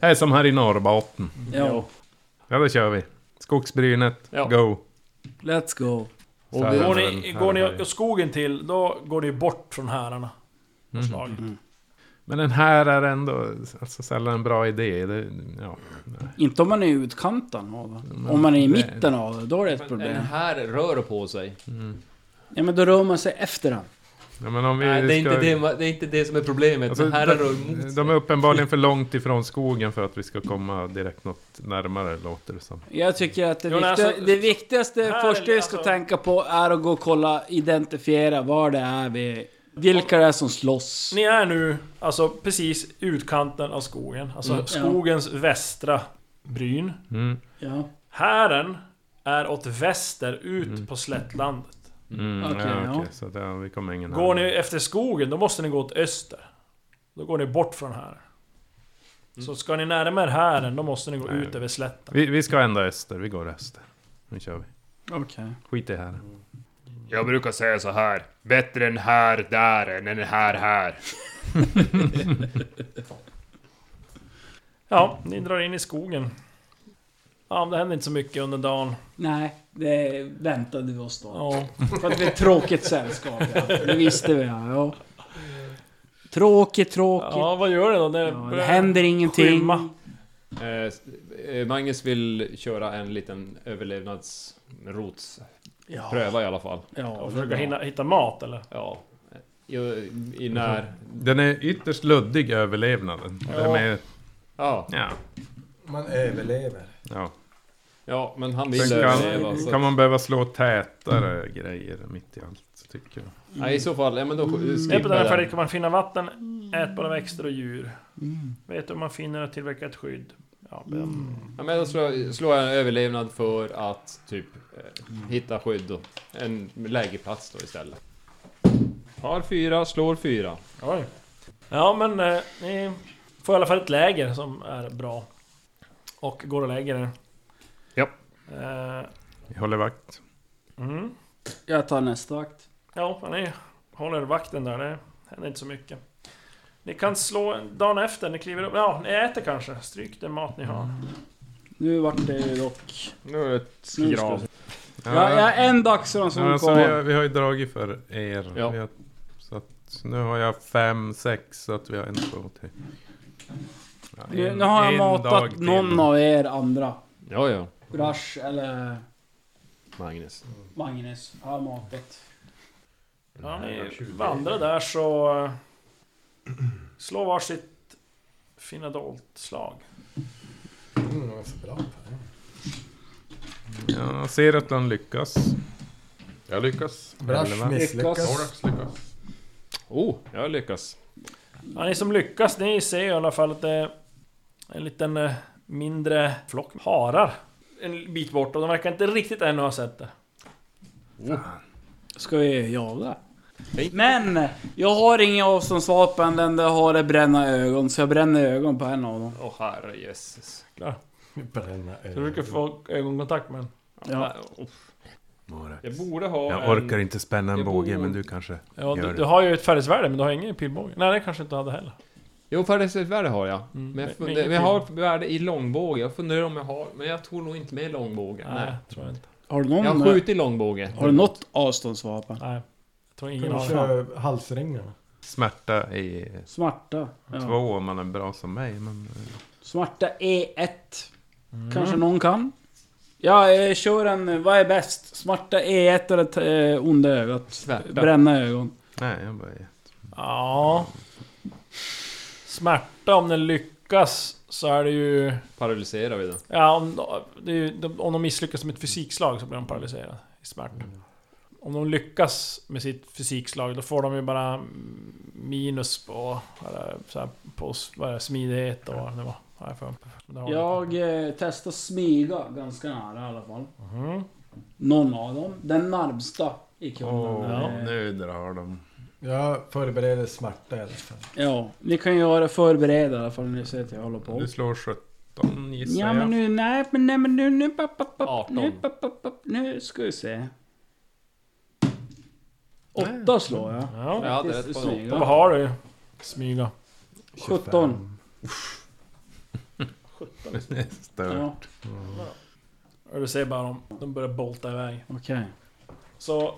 [SPEAKER 4] Det är som här i Norrbotten.
[SPEAKER 6] Ja,
[SPEAKER 4] Ja, då kör vi. Skogsbrynet,
[SPEAKER 8] Ja.
[SPEAKER 4] go!
[SPEAKER 6] let's go.
[SPEAKER 4] Så
[SPEAKER 8] Och
[SPEAKER 4] här
[SPEAKER 8] vi-
[SPEAKER 4] är
[SPEAKER 7] Går
[SPEAKER 4] det väl
[SPEAKER 7] ni,
[SPEAKER 4] här
[SPEAKER 7] går
[SPEAKER 4] i berget.
[SPEAKER 7] ni skogen till, då går ni bort från härarna. Förslaget.
[SPEAKER 4] Men den här är ändå alltså, sällan en bra idé. Det, ja.
[SPEAKER 6] Inte om man är i utkanten av det. Om man är i
[SPEAKER 4] det-
[SPEAKER 6] mitten av det, då är det ett
[SPEAKER 8] Den
[SPEAKER 6] problem.
[SPEAKER 8] här rör på sig.
[SPEAKER 6] Ja men då rör man sig efter den.
[SPEAKER 4] Ja, men om vi
[SPEAKER 8] Nej, det, är
[SPEAKER 4] ska-
[SPEAKER 8] inte det, ma- det är inte det som är problemet.
[SPEAKER 4] Alltså,
[SPEAKER 8] den här
[SPEAKER 4] de-
[SPEAKER 8] rör Mm. mot sig.
[SPEAKER 4] De är uppenbarligen för långt ifrån skogen för att vi ska komma direkt något närmare, låter det som.
[SPEAKER 6] Jag tycker att det,
[SPEAKER 7] Jo, nej,
[SPEAKER 6] viktiga,
[SPEAKER 7] alltså-
[SPEAKER 6] det viktigaste
[SPEAKER 7] Här,
[SPEAKER 6] första vi ska
[SPEAKER 7] alltså-
[SPEAKER 6] tänka på är att gå och kolla, identifiera var det är vi... Vilka det är som slåss.
[SPEAKER 7] Ni är nu alltså precis utkanten av skogen. Alltså
[SPEAKER 6] Mm, ja.
[SPEAKER 7] skogens västra bryn.
[SPEAKER 4] Mm.
[SPEAKER 6] Ja.
[SPEAKER 7] Hären är åt väster ut på slättlandet.
[SPEAKER 4] Mm,
[SPEAKER 6] Okej,
[SPEAKER 4] ja,
[SPEAKER 6] ja.
[SPEAKER 4] okej, Så det, vi kommer ingen
[SPEAKER 7] Går ni efter skogen, då måste ni gå åt öster. Då går ni bort från här. Så ska ni närmare hären, då måste ni gå
[SPEAKER 4] Nej.
[SPEAKER 7] ut över slätten.
[SPEAKER 4] vi, vi ska ända öster, vi går öster. Nu kör vi.
[SPEAKER 6] Okej.
[SPEAKER 4] Skit i här.
[SPEAKER 5] Jag brukar säga så här. Bättre en här där än en här här.
[SPEAKER 7] Ja, ni drar in i skogen. Ja, det händer inte så mycket under dagen.
[SPEAKER 6] Nej, det väntade vi oss då.
[SPEAKER 7] Ja.
[SPEAKER 6] För att vi är ett tråkigt sällskap. Ja. Det visste vi ja. ja. Tråkigt, tråkigt.
[SPEAKER 7] ja, vad gör ni då? Det,
[SPEAKER 6] Ja, det händer ingenting.
[SPEAKER 7] skymma.
[SPEAKER 8] Eh, s- eh, Magnus vill köra en liten överlevnadsrots...
[SPEAKER 6] Ja.
[SPEAKER 8] Pröva i alla fall.
[SPEAKER 6] Ja,
[SPEAKER 7] Och försöka hinna, hitta mat eller?
[SPEAKER 8] Ja. I, i när...
[SPEAKER 4] Den är ytterst luddig överlevnaden. Den är,
[SPEAKER 8] Ja.
[SPEAKER 4] ja,
[SPEAKER 3] Man överlever.
[SPEAKER 4] ja.
[SPEAKER 8] ja, men han
[SPEAKER 4] Sen
[SPEAKER 8] vill överleva.
[SPEAKER 4] kan,
[SPEAKER 8] Så
[SPEAKER 4] kan man behöva slå tätare grejer mitt i allt, tycker jag.
[SPEAKER 8] Nej, i så fall, ja men då
[SPEAKER 7] Det är på
[SPEAKER 8] skippar
[SPEAKER 7] Mm. den här
[SPEAKER 8] jag
[SPEAKER 7] färdigt
[SPEAKER 8] den.
[SPEAKER 7] kan man finna vatten, ätbara växter och djur. Vet du om man finner och tillverkar ett skydd? Ja, men-
[SPEAKER 8] Ja, men då slår, jag- slår jag en överlevnad för att typ eh, hitta skydd och en lägerplats då istället. Har fyra, slår fyra.
[SPEAKER 7] Oj. Ja men eh, ni får i alla fall ett läger som är bra. Och går och lägger er.
[SPEAKER 5] Ja.
[SPEAKER 7] Eh,
[SPEAKER 4] Vi håller vakt.
[SPEAKER 7] mm.
[SPEAKER 6] Jag tar nästa vakt.
[SPEAKER 7] Ja, men ni håller vakten där. Det händer inte så mycket. Ni kan slå dagen efter, ni kliver upp. Ja, ni äter kanske. Stryk den mat ni har.
[SPEAKER 6] Nu vart det dock...
[SPEAKER 5] Nu är det ett
[SPEAKER 6] Nu ska
[SPEAKER 5] grav.
[SPEAKER 6] vi- Ja, jag har en dagsrond som
[SPEAKER 4] Ja, alltså, vi, har,
[SPEAKER 6] kvar.
[SPEAKER 4] vi har ju dragit för er.
[SPEAKER 8] Ja.
[SPEAKER 4] Vi har, så att, nu har jag fem, sex, så att vi har en, två, tre. Ja,
[SPEAKER 6] Nu
[SPEAKER 4] en-
[SPEAKER 6] nu har jag
[SPEAKER 4] en dag
[SPEAKER 6] matat
[SPEAKER 4] till.
[SPEAKER 6] någon av er andra.
[SPEAKER 8] Ja, ja.
[SPEAKER 6] Rush eller
[SPEAKER 8] Magnus.
[SPEAKER 6] Magnus har jag matat.
[SPEAKER 7] Ja, ni vandrar där så... eh, Slå varsitt fina dolt slag.
[SPEAKER 3] Mm, vad så bra på det.
[SPEAKER 4] Ja, jag ser att han lyckas.
[SPEAKER 2] Jag lyckas.
[SPEAKER 3] Brash misslyckas.
[SPEAKER 2] Norax lyckas.
[SPEAKER 8] Oh, jag lyckas.
[SPEAKER 7] Ja, ni som lyckas, ni ser ju i alla fall att det är en liten eh, mindre flock harar. En bit bort och de verkar inte riktigt ännu ha sett det.
[SPEAKER 6] Ska vi jaga?
[SPEAKER 8] Hej.
[SPEAKER 6] Men! Jag har inga avståndsvapen, den där har det bränna ögon, så jag bränner ögon på en av dem.
[SPEAKER 8] Åh oh, herrejösses.
[SPEAKER 3] Bränna
[SPEAKER 7] Så du
[SPEAKER 3] över.
[SPEAKER 7] försöker få ögonkontakt med den.
[SPEAKER 6] Ja.
[SPEAKER 8] Nej, uff. Jag borde ha
[SPEAKER 4] Jag orkar
[SPEAKER 8] en...
[SPEAKER 4] inte spänna en
[SPEAKER 8] jag
[SPEAKER 4] båge,
[SPEAKER 8] bor-
[SPEAKER 4] men du kanske
[SPEAKER 7] Ja,
[SPEAKER 4] gör
[SPEAKER 7] du,
[SPEAKER 4] det.
[SPEAKER 7] du har ju ett färdighetsvärde men du har ingen pilbåge. Nej, det kanske inte hade heller.
[SPEAKER 8] Jo, färdighetsvärde har jag.
[SPEAKER 7] Mm,
[SPEAKER 8] Men jag,
[SPEAKER 7] men-
[SPEAKER 8] funder,
[SPEAKER 7] men
[SPEAKER 8] men jag har
[SPEAKER 7] inget
[SPEAKER 8] värde i långbåge. Jag funderar om jag har... Men jag tror nog inte med långbåge.
[SPEAKER 7] Nej,
[SPEAKER 8] Nej.
[SPEAKER 7] tror jag inte.
[SPEAKER 6] Har du
[SPEAKER 8] Jag
[SPEAKER 6] någon...
[SPEAKER 8] har skjutit långbåge.
[SPEAKER 6] Har du något avståndsvapen?
[SPEAKER 7] Nej. Jag tror ingen har det.
[SPEAKER 3] Kanske halsringarna.
[SPEAKER 4] Smärta är
[SPEAKER 6] Smarta. Ja.
[SPEAKER 4] två om man är bra som mig, men... eh,
[SPEAKER 6] Smarta E1. E Kanske någon kan? Ja, eh, kör en... Vad är bäst? Smarta E1 eller t- eh, onda ögat?
[SPEAKER 8] Svärta.
[SPEAKER 6] Bränna ögon.
[SPEAKER 4] Nej, jag bara...
[SPEAKER 7] Ja. Smärta om den lyckas så är det ju...
[SPEAKER 8] Paralyserar vi då.
[SPEAKER 7] Ja, om, det är ju, om de misslyckas med ett fysikslag så blir de paralyserade i smärta. Om de lyckas med sitt fysikslag då får de ju bara mm, minus på, eller, så här, på vad är det, smidighet och vad det var. Har jag för mig. Det har
[SPEAKER 6] Jag eh, testar smyga ganska nära i alla fall.
[SPEAKER 7] Mhm.
[SPEAKER 6] Någon av dem. Den närmsta i kullen.
[SPEAKER 4] Åh,
[SPEAKER 6] Eh,
[SPEAKER 4] nu drar de.
[SPEAKER 3] Jag förbereder smärta i alla fall.
[SPEAKER 6] Ja, ni kan göra förbereda i alla fall när ni ser att jag håller på.
[SPEAKER 4] Du slår
[SPEAKER 7] Mm,
[SPEAKER 4] 17 gissar
[SPEAKER 6] Ja men
[SPEAKER 4] jag.
[SPEAKER 6] nu, nej men nej men nu, nu, papp, papp, papp, nu,
[SPEAKER 8] 18.
[SPEAKER 6] papp, papp, papp, nu ska vi se. Åtta slår jag.
[SPEAKER 7] Ja.
[SPEAKER 8] Jag hade
[SPEAKER 6] Faktiskt
[SPEAKER 8] rätt på en
[SPEAKER 7] Då
[SPEAKER 6] snygga.
[SPEAKER 7] Vad har du? Smyga.
[SPEAKER 6] 17.
[SPEAKER 4] Stör.
[SPEAKER 6] Ja,
[SPEAKER 7] Och du ser bara dem, de börjar bolta iväg.
[SPEAKER 6] okej.
[SPEAKER 7] Så...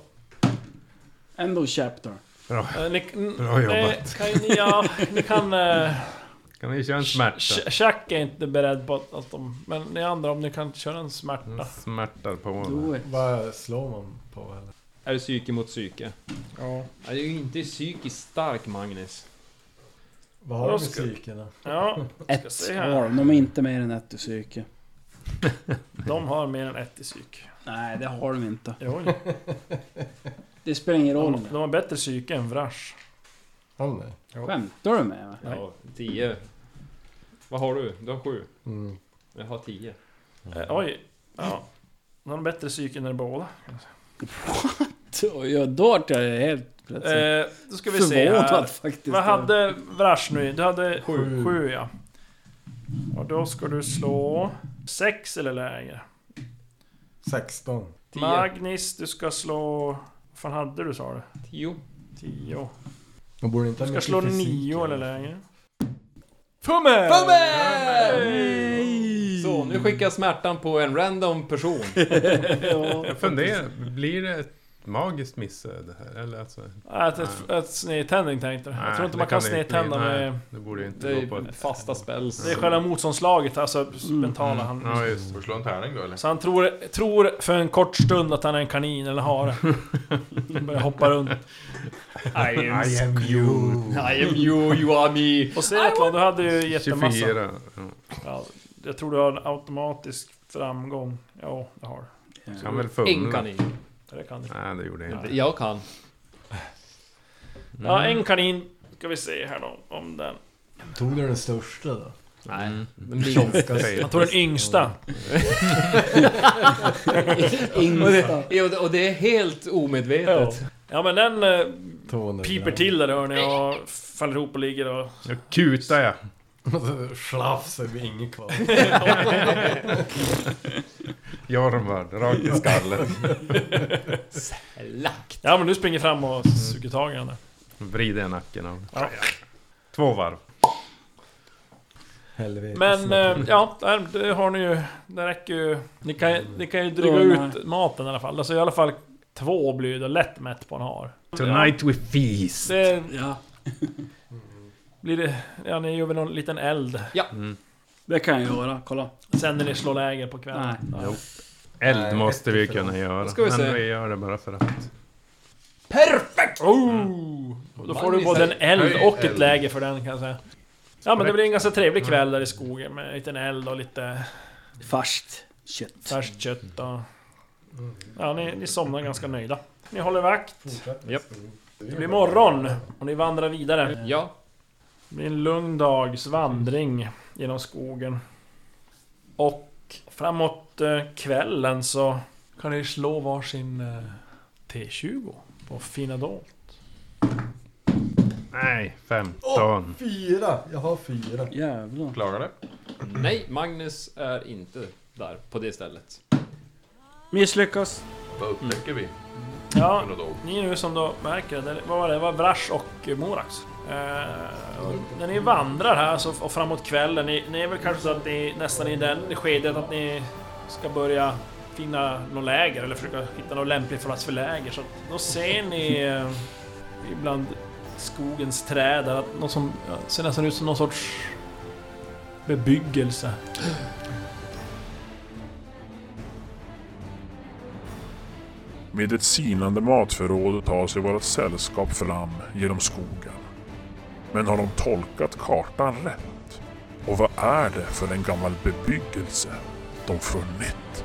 [SPEAKER 6] End of chapter.
[SPEAKER 7] Eh, ni, n-
[SPEAKER 4] Bra
[SPEAKER 7] nej,
[SPEAKER 4] jobbat.
[SPEAKER 7] kan ju ni, ja, ni kan... Eh,
[SPEAKER 4] Kan vi köra en smärta?
[SPEAKER 7] Ch- Chuck är inte beredd på att, att de... Men ni andra, om ni kan köra en
[SPEAKER 4] Mm.
[SPEAKER 7] smärta.
[SPEAKER 4] Smärtar på
[SPEAKER 6] Do
[SPEAKER 4] honom.
[SPEAKER 6] it.
[SPEAKER 3] Vad slår man på? Eller?
[SPEAKER 8] Är det psyke mot psyke?
[SPEAKER 7] Ja.
[SPEAKER 8] Jag är ju inte psykiskt stark, Magnus.
[SPEAKER 3] Vad har du
[SPEAKER 7] Jag
[SPEAKER 3] med
[SPEAKER 7] ska-
[SPEAKER 3] psykena?
[SPEAKER 7] ja. Ska
[SPEAKER 6] Ett
[SPEAKER 7] se
[SPEAKER 6] har
[SPEAKER 7] här.
[SPEAKER 6] de, de är inte mer än ett i psyke.
[SPEAKER 7] De har mer än ett i psyk.
[SPEAKER 6] Nej, det har de inte.
[SPEAKER 7] Jo,
[SPEAKER 6] Det spelar ingen roll.
[SPEAKER 7] de, de har bättre psyke än Vrash.
[SPEAKER 3] Åh nej.
[SPEAKER 6] Skämtar du med mig?
[SPEAKER 7] Nej.
[SPEAKER 8] Ja, tio. Vad har du? Du har sju.
[SPEAKER 3] Mm.
[SPEAKER 8] Jag har tio.
[SPEAKER 7] Eh, oj. Ja. Han har bättre psyken än båda.
[SPEAKER 6] Så, ja, då vart jag helt plötsligt
[SPEAKER 7] Eh, då ska vi se här.
[SPEAKER 6] förvånad faktiskt.
[SPEAKER 7] Vad hade Vrash nu? Du hade sju. sju ja. Och då ska du slå sex eller lägre.
[SPEAKER 3] 16.
[SPEAKER 7] Magnus, du ska slå... Vad fan hade du sa du?
[SPEAKER 8] Tio.
[SPEAKER 7] Tio.
[SPEAKER 3] Man borde inte
[SPEAKER 7] Du
[SPEAKER 3] ha
[SPEAKER 7] ska
[SPEAKER 3] mycket
[SPEAKER 7] slå
[SPEAKER 3] fysik,
[SPEAKER 7] nio eller lägre. Fummel!
[SPEAKER 8] Så, nu skickar jag smärtan på en random person.
[SPEAKER 4] Jag funderar, blir det ett magiskt missöde här? Eller alltså,
[SPEAKER 7] Att, Äh, ett, ett snedtändning tänkte du. Jag
[SPEAKER 4] nej,
[SPEAKER 7] tror inte
[SPEAKER 4] det
[SPEAKER 7] man kan
[SPEAKER 4] det inte bli.
[SPEAKER 7] snedtända
[SPEAKER 4] Nej,
[SPEAKER 7] med...
[SPEAKER 4] Det borde ju inte
[SPEAKER 8] Det är
[SPEAKER 4] gå på
[SPEAKER 8] ju
[SPEAKER 4] ett...
[SPEAKER 8] fasta spells.
[SPEAKER 7] Det är själva motståndslaget, alltså
[SPEAKER 4] Mm,
[SPEAKER 7] mentala han...
[SPEAKER 4] Ja, just
[SPEAKER 2] Får du slå en tärning då eller?
[SPEAKER 7] Så han tror, tror för en kort stund att han är en kanin eller hare. Han Börjar hoppa runt.
[SPEAKER 4] I am you.
[SPEAKER 8] I am you, you are me.
[SPEAKER 4] Mm.
[SPEAKER 7] Och Seatlon, du hade ju jättemassa.
[SPEAKER 4] 24. Ja.
[SPEAKER 7] Ja, jag tror du har en automatisk framgång. Ja, det har
[SPEAKER 4] Kan väl
[SPEAKER 8] En
[SPEAKER 4] fumla.
[SPEAKER 8] kanin.
[SPEAKER 7] du. Det kan du.
[SPEAKER 4] Nej, det gjorde jag inte.
[SPEAKER 8] Jag kan.
[SPEAKER 7] Ja,
[SPEAKER 4] Mm.
[SPEAKER 7] en kanin. Ska vi se här då, om den.
[SPEAKER 3] Tog du den största då?
[SPEAKER 8] Nej,
[SPEAKER 5] Mm.
[SPEAKER 6] Mm.
[SPEAKER 8] den minsta.
[SPEAKER 7] Jag tror den yngsta.
[SPEAKER 8] Och det- ja, och det- Och det är helt
[SPEAKER 7] Ja.
[SPEAKER 8] omedvetet.
[SPEAKER 7] ja, men den eh,
[SPEAKER 3] 200
[SPEAKER 7] piper till där hör ni och faller ihop och ligger och...
[SPEAKER 4] Nu kutar jag.
[SPEAKER 3] Schlafs Alltså, är det inget kvar.
[SPEAKER 4] Jorvar, rakt i skallen.
[SPEAKER 8] Lack.
[SPEAKER 7] Ja, men du springer fram och suger tag i den där.
[SPEAKER 4] Vrider jag nacken av.
[SPEAKER 7] Ja.
[SPEAKER 4] Två varv.
[SPEAKER 3] Helvete.
[SPEAKER 7] Men eh, ja, där, det har ni ju. Det räcker ju. Ni kan, ni kan ju dryga
[SPEAKER 6] Då,
[SPEAKER 7] ut maten i alla fall. Alltså i alla fall två blir ju då lätt mätt på en har.
[SPEAKER 4] Tonight we feast.
[SPEAKER 7] Det
[SPEAKER 6] Ja,
[SPEAKER 7] blir det... Ja, ni gör väl någon liten eld.
[SPEAKER 6] det kan jag göra. Kolla.
[SPEAKER 7] Sen när ni slår läger på kvällen. Ja.
[SPEAKER 4] Eld måste vi ju kunna göra.
[SPEAKER 8] ska vi se.
[SPEAKER 4] Men vi gör det bara för att.
[SPEAKER 7] Oh! Då får du
[SPEAKER 8] Magnus,
[SPEAKER 7] både en eld
[SPEAKER 2] höj
[SPEAKER 7] och ett
[SPEAKER 2] eld.
[SPEAKER 7] läger för den kan jag säga. Ja men det blir en ganska trevlig kväll där i skogen med en liten eld och lite
[SPEAKER 6] Fast kött.
[SPEAKER 7] färskt kött och... Ja, ni, ni somnar ganska nöjda. Ni håller vakt.
[SPEAKER 8] Japp.
[SPEAKER 7] Det blir morgon och ni vandrar vidare.
[SPEAKER 8] Ja.
[SPEAKER 7] Det blir en lugn dags vandring genom skogen. Och framåt eh, kvällen så kan ni slå varsin eh, T20 på fina dolt.
[SPEAKER 4] Nej, 15.
[SPEAKER 3] Fyra! Jag har fyra.
[SPEAKER 6] Jävlar.
[SPEAKER 2] Klarar det?
[SPEAKER 8] Nej, Magnus är inte där på det stället.
[SPEAKER 6] Misslyckas.
[SPEAKER 2] Vad upptäcker vi?
[SPEAKER 7] Ja,
[SPEAKER 2] Eller då?
[SPEAKER 7] Ni nu som då märker, det, vad var det? Det var Vrash och Morax. Eh, och när ni vandrar här så, och framåt kvällen, ni, ni är väl kanske så att ni nästan i den skedet att ni ska börja finna något läger eller försöka hitta något lämpligt plats för läger. Så att då ser ni eh, ibland skogens träd där att något som ja, ser nästan ut som någon sorts bebyggelse.
[SPEAKER 1] Med ett sinande matförråd tar sig vårt sällskap fram genom skogen. Men har de tolkat kartan rätt? Och vad är det för en gammal bebyggelse de funnit?